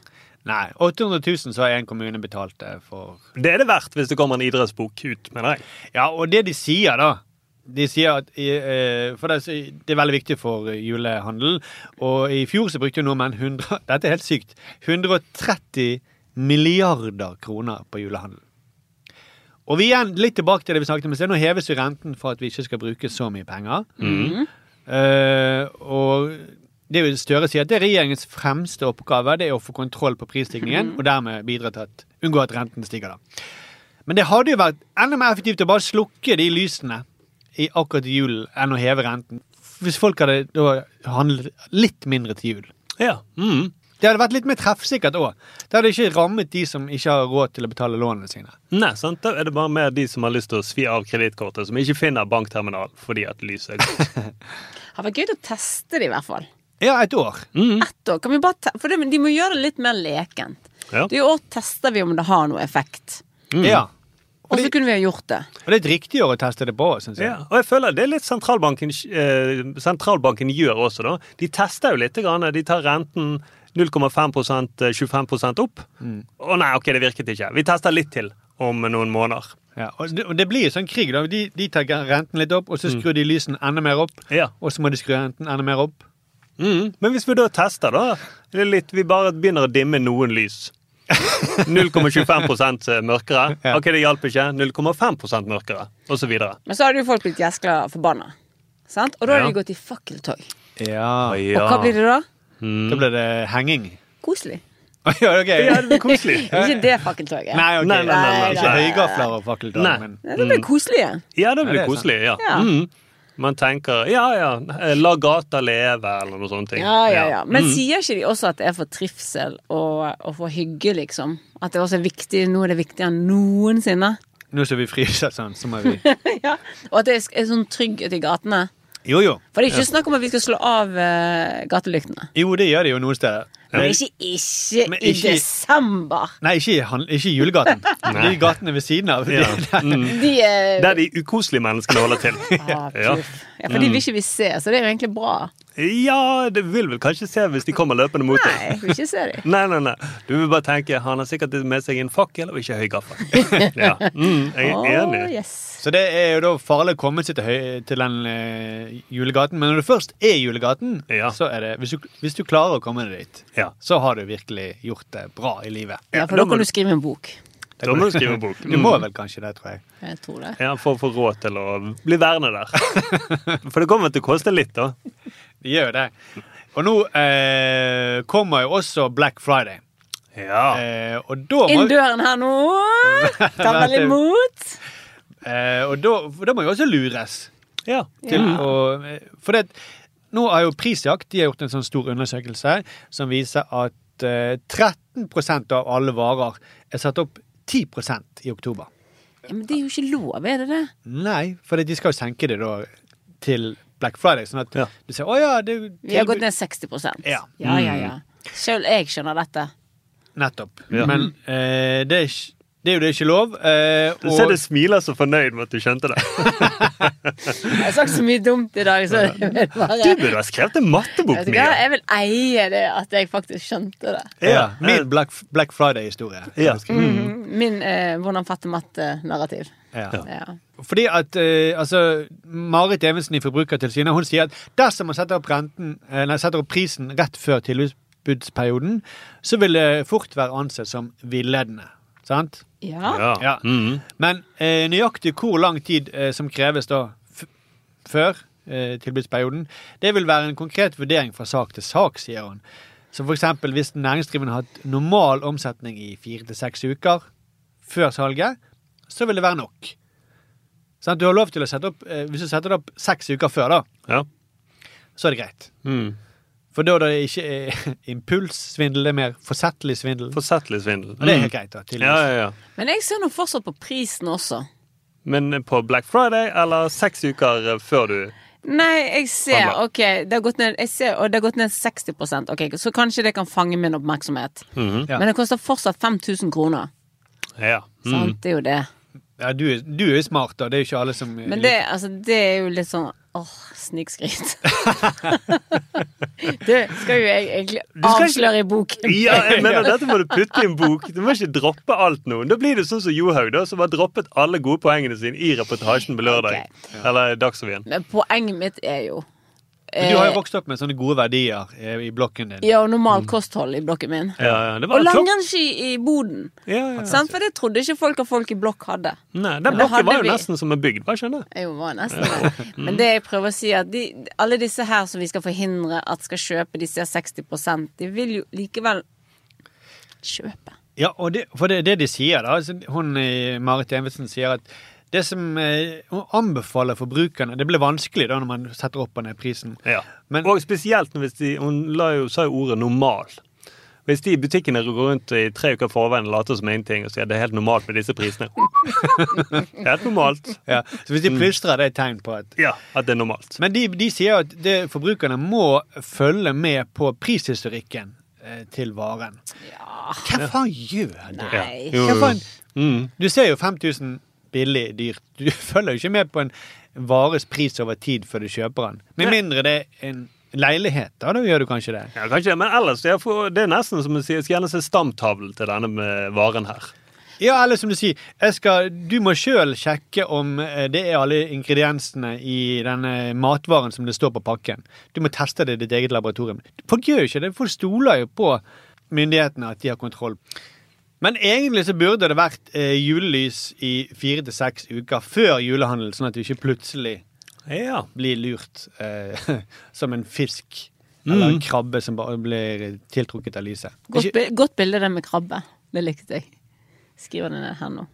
nei 800 000 så har en kommune betalt eh, for
Det er det verdt hvis det kommer en idrettsbok ut, mener jeg.
Ja, og det de sier, da de sier at, eh, for det, det er veldig viktig for eh, julehandelen. Og i fjor så brukte jo nordmenn 100, dette er helt sykt, 130 milliarder kroner på julehandel. Og vi er igjen litt tilbake til det vi snakket om i sted. Nå heves jo renten for at vi ikke skal bruke så mye penger.
Mhm.
Eh, og det vil Støre si at det er regjeringens fremste oppgave det er å få kontroll på prisstigningen, og dermed bidra til at unngå at renten stiger. da. Men det hadde jo vært enda mer effektivt å bare slukke de lysene i akkurat i julen enn å heve renten. Hvis folk hadde da handlet litt mindre til jul.
Ja.
Det hadde vært litt mer treffsikkert òg. Det hadde ikke rammet de som ikke har råd til å betale lånene sine.
Nei, sant? Da er det bare mer de som har lyst til å svi av kredittkortet, som ikke finner bankterminal fordi at lyset er godt.
Det hadde vært gøy å teste det, i hvert fall.
Ja, et år.
Ett år. Kan vi bare te for det, men de må gjøre det litt mer lekent.
Ja.
Det I år tester vi om det har noe effekt.
Mm.
Ja.
Og så kunne vi ha gjort det.
Og det er et riktig år å teste det på, syns jeg.
Ja, og jeg føler det er litt sentralbanken, eh, sentralbanken gjør også, da. De tester jo litt. Grann. De tar renten 0,5 eh, 25 opp.
Mm.
Å nei, ok, det virket ikke. Vi tester litt til om noen måneder.
Ja, og det, og det blir jo sånn krig. da. De, de tar renten litt opp, og
Mm.
så skrur de lysen enda mer opp. Og så må de skru renten enda mer opp.
Mm. Men hvis vi da tester, da det er litt, Vi bare begynner å dimme noen lys. 0,25 eh, mørkere. Ok, det hjalp ikke. 0,5 mørkere. Og så videre.
Men så hadde jo folk blitt jæskla forbanna. Sant? Og da hadde de
Ja.
gått i fakkeltog.
Ja.
Og hva blir det da?
Da blir det henging.
Koselig.
ja, ok.
Ja, det
blir koselig.
ikke det fakkeltoget.
Nei, ok.
Nei, nei, nei, nei.
Ikke høygafler og fakkeltog,
Nei.
men
Det blir koselig igjen.
Ja, det blir
Ja, det er
koselig. Ja.
sant. Ja.
Mm. Man tenker ja, ja, eh, la gata leve, eller noe sånt.
Ja, ja, ja. Men
Mm.
sier ikke de også at det er for trivsel og, og for hygge, liksom? At det også er viktig, nå er det viktigere enn noensinne?
nå som vi fryser sånn, så må vi
ja. Og at det er er sånn trygghet i gatene?
Jo, jo.
For det er ikke
Ja.
snakk om at vi skal slå av eh, gatelyktene.
Jo, det gjør de jo noen steder.
Men ikke, ikke,
Men
i
ikke-
desember!
Nei, ikke i, han- ikke i julegaten.
Nei.
De gatene ved siden av.
Ja. Mm.
De er
Der de ukoselige menneskene holder til. ja.
ja, For de vil ikke vi se, så det er jo egentlig bra.
ja, det vil vel kanskje se hvis de kommer løpende mot
Nei,
deg.
vi vil ikke se dem.
Nei, nei, nei. Du vil bare tenke han har sikkert med seg en fakkel og ikke høy gaffel. Ja. Mm, jeg er enig.
Så det er jo da farlig å komme seg til, høy, til den eh, julegaten. Men når du først er i julegaten, så er det hvis du, hvis du klarer å komme deg dit, så har du virkelig gjort det bra i livet.
Ja, for da kan du skrive en bok.
Da må du skrive en bok.
Du må
Mm.
vel kanskje det, tror jeg.
Jeg tror det.
Ja, For å få råd til å bli værende der. For det kommer til å koste litt, da.
Det gjør jo det. Og nå eh, kommer jo også Black Friday. Eh, og da må
Inn døren her nå! Ta vel imot!
Eh, og da, for da må jo også lures.
Ja.
Til
Ja.
å- eh, for det, nå har jo Prisjakt de har gjort en sånn stor undersøkelse som viser at eh, 13 av alle varer er satt opp 10 i oktober.
Ja, men det er jo ikke lov, er det det?
Nei, for de skal jo senke det da til Black Friday. Sånn at du sier 'Å ja, det,
Vi har gått ned 60
Ja.
ja, ja,
Mm.
ja. Selv jeg skjønner dette.
Nettopp.
Ja.
Men eh, det, er, ikke- det er jo det ikke lov. Eh,
Du ser det smiler så fornøyd med at du skjønte det.
Jeg har sagt så mye dumt i dag, så jeg vil bare
Du burde ha skrevet en mattebok,
Vet du hva?
Mia.
Jeg vil eie det at jeg faktisk skjønte det.
ja, min Black, Black Friday-historie.
Ja.
Min eh, hvordan fatte matte-narrativ.
Ja.
Ja.
Fordi at eh, altså, Marit Evensen i Forbrukertilsynet hun sier at dersom man setter opp, renten, eh, nei, setter opp prisen rett før tilbudsperioden, så vil det fort være ansett som villedende. Sant?
Ja.
Ja.
Mm.
Men eh, nøyaktig hvor lang tid eh, som kreves da f før eh, tilbudsperioden, det vil være en konkret vurdering fra sak til sak, sier hun. Så for eksempel hvis den næringsdrivende har hatt normal omsetning i fire til seks uker før salget, så vil det være nok. Sånn, du har lov til å sette opp, eh, Hvis du setter det opp seks uker før, da, så er det greit.
Mm.
For da er det ikke eh, impulssvindel, det er mer forsettlig svindel.
Forsettlig svindel.
Og det er helt greit, da. tydeligvis.
Mm. Ja, ja, ja.
Men jeg ser nå fortsatt på prisen også.
Men på Black Friday eller seks uker eh, før du
Nei, jeg ser,
Handler.
ok, det har gått ned, jeg ser, og det har gått ned 60 Ok, Så kanskje det kan fange min oppmerksomhet.
Mhm.
Men det koster fortsatt 5000 kroner.
Ja. Mm.
Sant, det er jo det.
Ja, du, er- du er jo smart, da. Det er jo ikke alle som eh,
Men det, altså, det er jo litt sånn åh, snikskryt. det skal jo jeg egentlig
Du skal ikke-
avsløre i boken.
Ja, jeg mener dette må du putte i en bok. Du må ikke droppe alt nå. Da blir det sånn som Johaug, da, som har droppet alle gode poengene sine i reportasjen på lørdag. Eller Dagsrevyen.
Men poenget mitt er jo
Men du har jo
eh,
vokst opp med sånne gode verdier eh, i blokken din.
Ja, og normalt kosthold i blokken min.
Ja, ja, det var
og
klokk-
langrennsski i boden. Sant? For det trodde ikke folk at folk i blokk hadde.
Nei,
Men
Den
det
blokken
hadde
var jo
vi.
nesten som en bygd, bare skjønner du?
Jo, var nesten det. Men det jeg prøver å si, er at de, alle disse her som vi skal forhindre at skal kjøpe disse 60 de vil jo likevel kjøpe.
Ja, og det, for det er det de sier, da. Altså, Hun eh, Marit Evensen sier at det som eh, hun anbefaler forbrukerne Det blir vanskelig da når man setter opp og ned prisen.
Ja. og spesielt når hvis de Hun la jo, sa jo ordet 'normal'. Hvis de i butikkene går rundt i tre uker forveien og later som ingenting og sier det er helt normalt med disse prisene Helt normalt.
Ja, så hvis de
Mm.
plystrer, det er et tegn på at
Ja, at det er normalt.
Men de, de sier at det, forbrukerne må følge med på prishistorikken eh, til varen. Hva faen gjør det?
Nei. Jo, Mm.
Hva
jo.
faen? Du ser jo 5000 billig dyrt. Du følger jo ikke med på en vares pris over tid før du kjøper den. Med
Nei.
mindre det er en leilighet, da, da gjør du kanskje det.
Ja, kanskje, men ellers, jeg får, Det er nesten som å si jeg skal gjerne se stamtavlen til denne med varen her.
Ja, eller som du sier, jeg skal, du må sjøl sjekke om eh, det er alle ingrediensene i denne matvaren som det står på pakken. Du må teste det i ditt eget laboratorium. Folk gjør jo ikke det, folk stoler jo på myndighetene at de har kontroll. Men egentlig så burde det vært eh, julelys i fire til seks uker før julehandel, sånn at du ikke plutselig blir lurt eh, som en fisk. Eller en krabbe som bare blir tiltrukket av lyset.
Godt, bi- godt bilde det med krabbe. Det likte jeg. Skriver det ned her nå.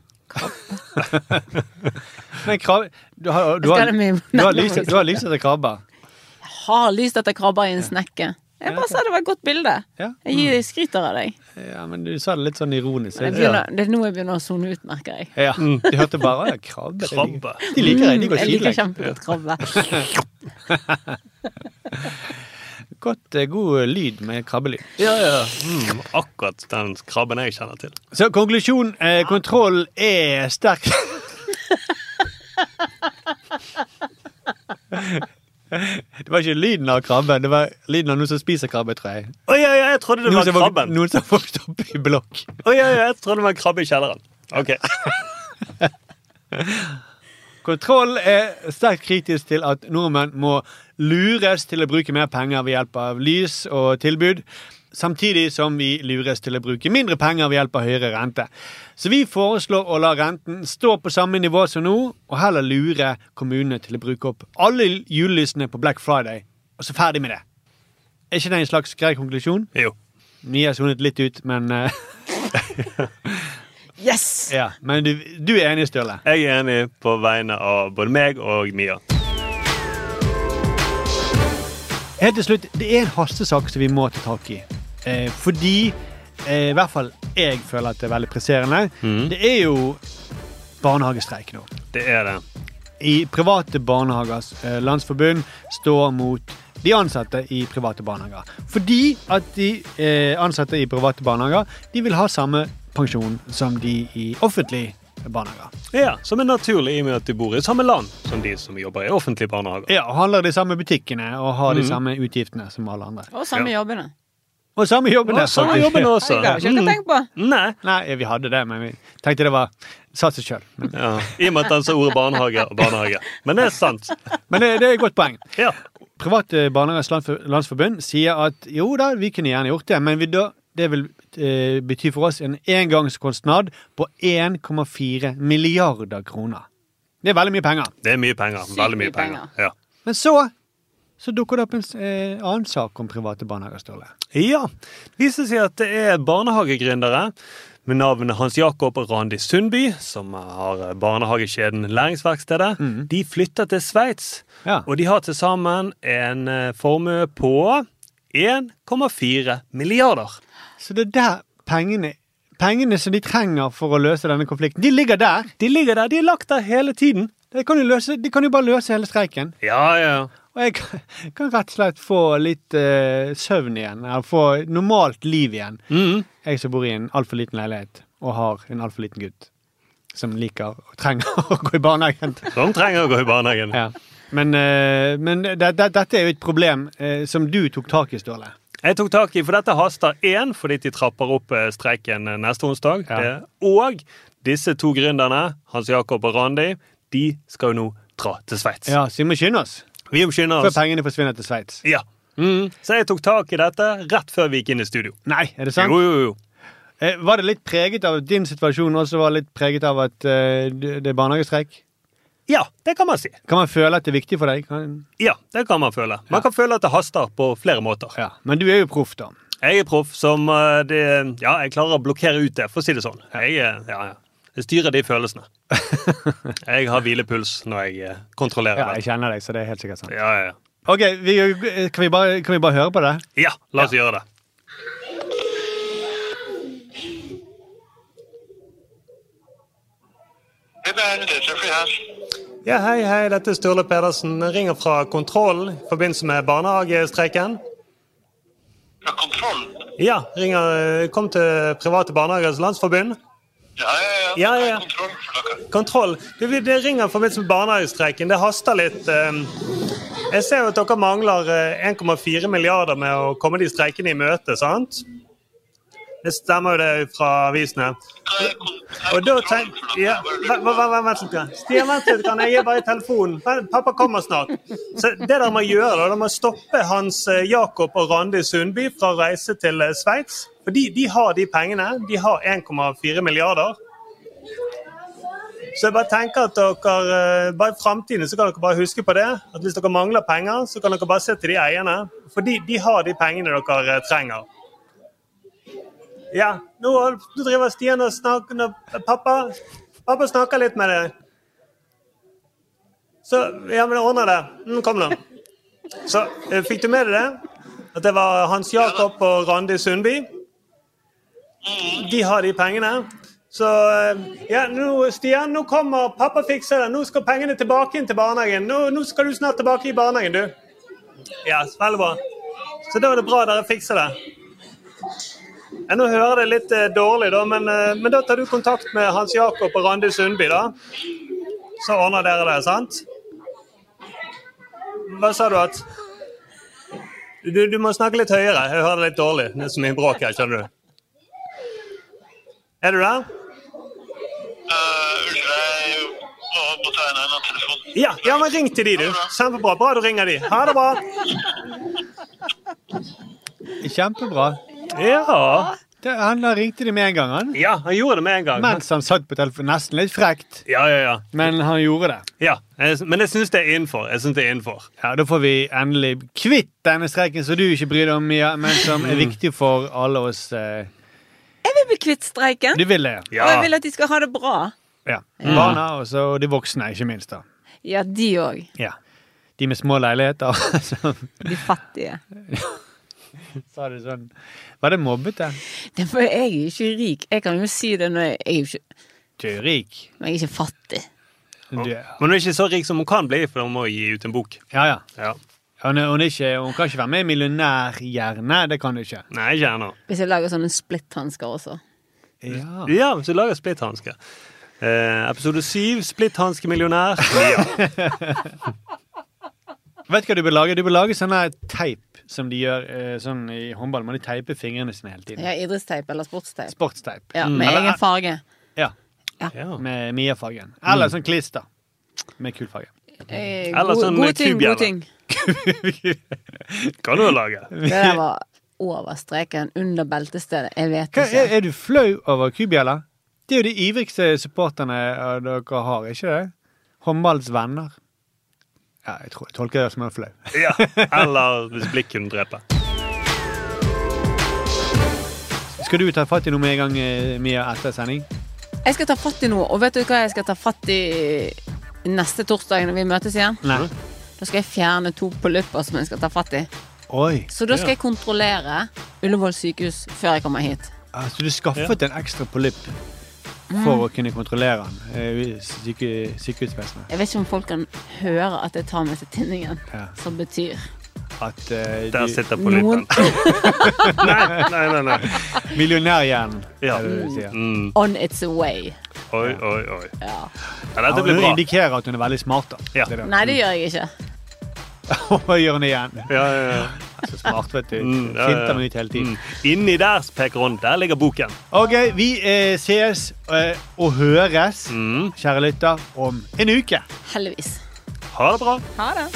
Men krabbe Du har, du
Jeg
har,
skal ha det med-
du har,
Nei,
lyst, du har lyst etter krabber.
Jeg har lyst etter krabber i en snekke. Jeg bare sa det var et godt bilde. Jeg gir jeg skryter av deg.
Ja, men du sa det litt sånn ironisk.
Men jeg begynner, det er nå jeg begynner å sone ut, merker jeg.
Ja, ja. Du hørte bare ja, krabbe. det liker-
Mm. Krabbe.
De liker det. De
Mm,
går
jeg liker
sidelengs.
kjempegodt krabbe.
Godt, eh, god lyd med krabbelyd.
Ja, ja. Mm, akkurat den krabben jeg kjenner til.
Så konklusjon eh, kontroll er sterk. Det var ikke lyden av krabben, det var lyden av noen som spiser krabbe, tror jeg.
Å ja, ja, jeg trodde det
Noen
var
som vok-
krabben.
Noen som vokste opp i blokk.
Å ja, ja, jeg trodde det var en krabbe i kjelleren. Ok.
Kontroll er sterkt kritisk til at nordmenn må lures til å bruke mer penger ved hjelp av lys og tilbud, samtidig som vi lures til å bruke mindre penger ved hjelp av høyere rente. Så vi foreslår å la renten stå på samme nivå som nå, og heller lure kommunene til å bruke opp alle julelysene på Black Friday, og så ferdig med det. Er ikke det en slags grei konklusjon?
Jo.
Vi har sonet litt ut, men eh,
Yes!
ja. Men du, du er enig, Sturle?
Jeg er enig på vegne av både meg og Mia.
Helt til slutt, det er en hastesak som vi må ta tak i. Eh, fordi eh, I hvert fall jeg føler at det er veldig presserende.
Mhm.
Det er jo barnehagestreik nå.
Det er det.
I Private Barnehagers eh, Landsforbund står mot de ansatte i private barnehager. Fordi at de eh, ansatte i private barnehager de vil ha samme pensjon som de i offentlige barnehager.
Ja, Som er naturlig i og med at de bor i samme land som de som jobber i offentlige barnehager.
Ja, og Handler de samme butikkene og har de
Mhm.
samme utgiftene som alle andre.
Og samme jobbene.
Og samme jobben
Og
der,
samme
faktisk.
jobben også. Mm.
Det har jeg
Mm.
ikke tenkt på.
Nei.
Nei, vi hadde det, men vi tenkte det var Satt seg sjøl.
Ja, I og med at han sa ordet barnehage og barnehage. Men det er sant.
Men det, det er et godt poeng.
Ja.
Private Barnehagers Landf- Landsforbund sier at jo da, vi kunne gjerne gjort det, men vi da, det vil eh, bety for oss en engangskostnad på 1,4 milliarder kroner. Det er veldig mye penger.
Det er mye penger. Veldig mye penger. Ja.
Men så så dukker det opp en s- eh, annen sak om private barnehager, Ståle.
Ja, det viser seg at det er barnehagegründere med navnet Hans Jakob og Randi Sundby, som har barnehagekjeden Læringsverkstedet. De flytter til Sveits, og de har til sammen en eh, formue på 1,4 milliarder.
Så det er der pengene Pengene som de trenger for å løse denne konflikten, de ligger der.
De ligger der, de er lagt der hele tiden.
De kan jo, løse, de kan jo bare løse hele streiken.
Ja, ja.
Og jeg kan, kan rett og slett få litt eh, søvn igjen, eller få normalt liv igjen. Jeg som bor i en altfor liten leilighet, og har en altfor liten gutt som liker og trenger å gå i barnehagen.
Som trenger å gå i barnehagen.
Ja. Men, eh, men det, det, dette er jo et problem eh, som du tok tak i, Ståle.
Jeg tok tak i, for dette haster én, fordi de trapper opp eh, streiken eh, neste onsdag. Det, og disse to gründerne, Hans Jakob og Randi, de skal jo nå dra til Sveits.
Ja, så vi må skynde oss.
Vi må skynde
Før
oss.
pengene forsvinner til Sveits.
Ja. Så jeg tok tak i dette rett før vi gikk inn i studio.
Nei, er det sant?
Jo, jo, jo.
Eh, Var det litt preget av at din situasjon også var litt preget av at eh, det det er barnehagestreik?
Ja, det kan man si.
Kan man føle at det er viktig for deg? Kan...
Ja, det kan man føle. Man kan føle at det haster på flere måter.
Men du er jo proff, da.
Jeg er proff som eh, det, Ja, jeg klarer å blokkere ut det, for å si det sånn. Jeg, eh, ja, ja. jeg styrer de følelsene. Jeg har hvilepuls når jeg eh, kontrollerer
Ja, jeg kjenner deg, så det er helt sikkert sant.
Ja, ja, ja.
Ok, vi, eh, kan, vi bare, kan vi bare høre på det?
Ja, la oss gjøre det. Ja, hei, hei. Dette er Sturle Pedersen. Jeg ringer fra Kontroll i forbindelse med barnehagestreiken. Fra Kontroll? Ja. ringer, Kom til Private Barnehagers Landsforbund. Ja, ja, ja. Kontroll. Du, vi- det ringer i forbindelse med barnehagestreiken. Det haster litt. ehm. Jeg ser jo at dere mangler eh, 1,4 milliarder med å komme de streikende i møte, sant? Det stemmer jo det fra avisene. Og da tenk... Ja, vent, vent, vent, vent litt. grann. Stian, vent litt. grann. Jeg er bare i telefonen. Vent, Pappa kommer snart. Så det dere må gjøre, da, dere må stoppe Hans eh, Jakob og Randi Sundby fra å reise til eh, Sveits. For de, de har de pengene. De har 1,4 milliarder. Så jeg bare tenker at dere, eh, bare i fremtiden så kan dere bare huske på det. At hvis dere mangler penger, så kan dere bare se til de eierne. For de, de har de pengene dere eh, trenger. Ja, nå, nå driver Stian og snakker nå, pappa, pappa snakker litt med deg. Så Ja, men jeg ordner det. Mm, kom nå. Så eh, fikk du med deg det? At det var Hans Jakob og Randi Sundby? De har de pengene. Så eh, Ja, nå, Stian, nå kommer pappa fikser det. Nå skal pengene tilbake inn til barnehagen. Nå, nå skal du snart tilbake i barnehagen, du. Ja, veldig bra. Så da er det bra dere fikser det. Jeg nå hører det litt eh, dårlig, da, men, eh, men da tar du kontakt med Hans Jakob og Randi Sundby, da. Så ordner dere det, sant? Hva sa du at Du, du må snakke litt høyere. Jeg hører det litt dårlig. Det er så mye bråk her, skjønner du. Er du der? Ja, ja, men ring til de, du. Kjempebra. Bra du ringer de. Ha det bra.
Kjempebra.
Ja.
Det, han da ringte de med en gang, han.
Ja, han gjorde det med en gang.
Mens han satt på telefonen. Nesten litt frekt,
Ja, ja, ja.
men han gjorde det.
Ja, jeg- Men jeg syns det er innenfor. Jeg synes det er innenfor.
Ja, Da får vi endelig kvitt denne streiken som du ikke bryr deg om, Mia, men som er viktig for alle oss. eh,
Jeg vil bli kvitt streiken.
Du vil det?
Og jeg vil at de skal ha det bra.
Ja. Barna og så de voksne, ikke minst. da.
Ja, de òg.
Ja. De med små leiligheter. som-
De fattige.
Sa du sånn Var det mobbete?
Det er for jeg er jo ikke rik. Jeg kan jo si det når jeg, jeg er jo ikke
Du er rik.
Men jeg er ikke fattig.
Men hun er ikke så rik som hun kan bli, for hun må gi ut en bok.
Ja, ja.
Ja.
Hun, er, hun, er ikke, hun kan ikke være med i Millionærhjerne. Det kan hun ikke.
Nei, ikke ennå.
Hvis jeg lager sånne splitthansker også.
Ja.
Ja, hvis du lager splitthanske. Eh, episode syv, splitthanskemillionær. Ja.
Vet du hva du bør lage? Du bør lage sånne teip som de gjør eh, sånn i håndball. Man de teiper fingrene sine hele tiden.
Ja, idrettsteip eller sportsteip.
Sportsteip.
Ja, med
Mm. Eller-
egen farge.
Ja. Med Mia-fargen. Eller sånn klister. Med kul farge.
Eh,
Eller
god-
sånn
god ting,
kubjære.
god ting.
Kan du lage?
Det der var over streken, under beltestedet. Jeg vet
Hva,
ikke.
er, er du flau over kubjeller? Det er jo de ivrigste supporterne eh, dere har, ikke det? Håndballens venner. Ja, jeg tror jeg tolker det som en flau.
Ja, Eller hvis blikk kunne drepe.
Skal du ta fatt i noe med en gang, eh, Mia, etter sending?
Jeg skal ta fatt i noe, og vet du hva jeg skal ta fatt i neste torsdag når vi møtes igjen?
Nei.
Da skal jeg fjerne to polypper som jeg skal ta fatt i.
Oi.
Så da skal jeg kontrollere Ullevål sykehus før jeg kommer hit.
Ja, Så altså, du skaffet en ekstra polypp
Mm.
for å kunne kontrollere den eh, i syke, sykehusvesenet?
Jeg vet ikke om folk kan høre at jeg tar med seg tinningen, som betyr
At eh,
Der sitter
Noen-
polypen. nei, nei, nei. nei.
Millionærhjernen.
Ja. Mm.
on its way.
Oi, oi, oi.
Ja.
dette blir
hun
bra.
indikerer at hun er veldig smart. da. Det er det.
Nei, det gjør jeg ikke.
Og gjør hun det igjen. Så smart, vet du.
Mm, ja, ja.
Finter meg ut hele tiden.
Inni der, peker hun. Der ligger boken.
Ok, vi eh, sees eh, og høres,
Mm.
kjære lytter, om en uke.
Heldigvis.
Ha det bra.
Ha det.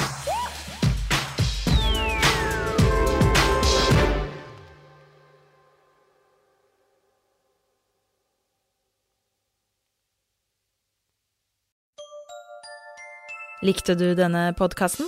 Likte du denne podkasten?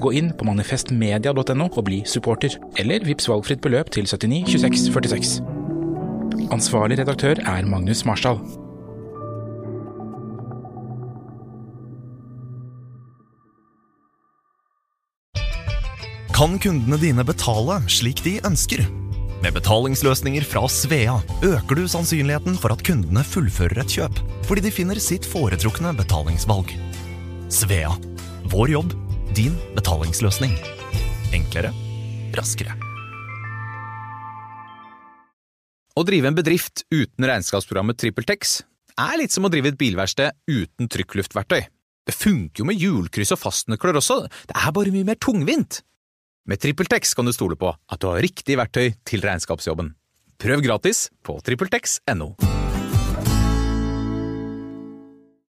Gå inn på manifestmedia.no og bli supporter, eller vips valgfritt beløp til 79 26 46. Ansvarlig redaktør er Magnus Marshall.
Kan kundene dine betale slik de ønsker? Med betalingsløsninger fra Svea øker du sannsynligheten for at kundene fullfører et kjøp, fordi de finner sitt foretrukne betalingsvalg. Svea vår jobb, din betalingsløsning. Enklere, raskere.
Å drive en bedrift uten regnskapsprogrammet TrippelTex er litt som å drive et bilverksted uten trykkluftverktøy. Det funker jo med hjulkryss og fastnøkler også, det er bare mye mer tungvint. Med TrippelTex kan du stole på at du har riktig verktøy til regnskapsjobben. Prøv gratis på trippeltex.no.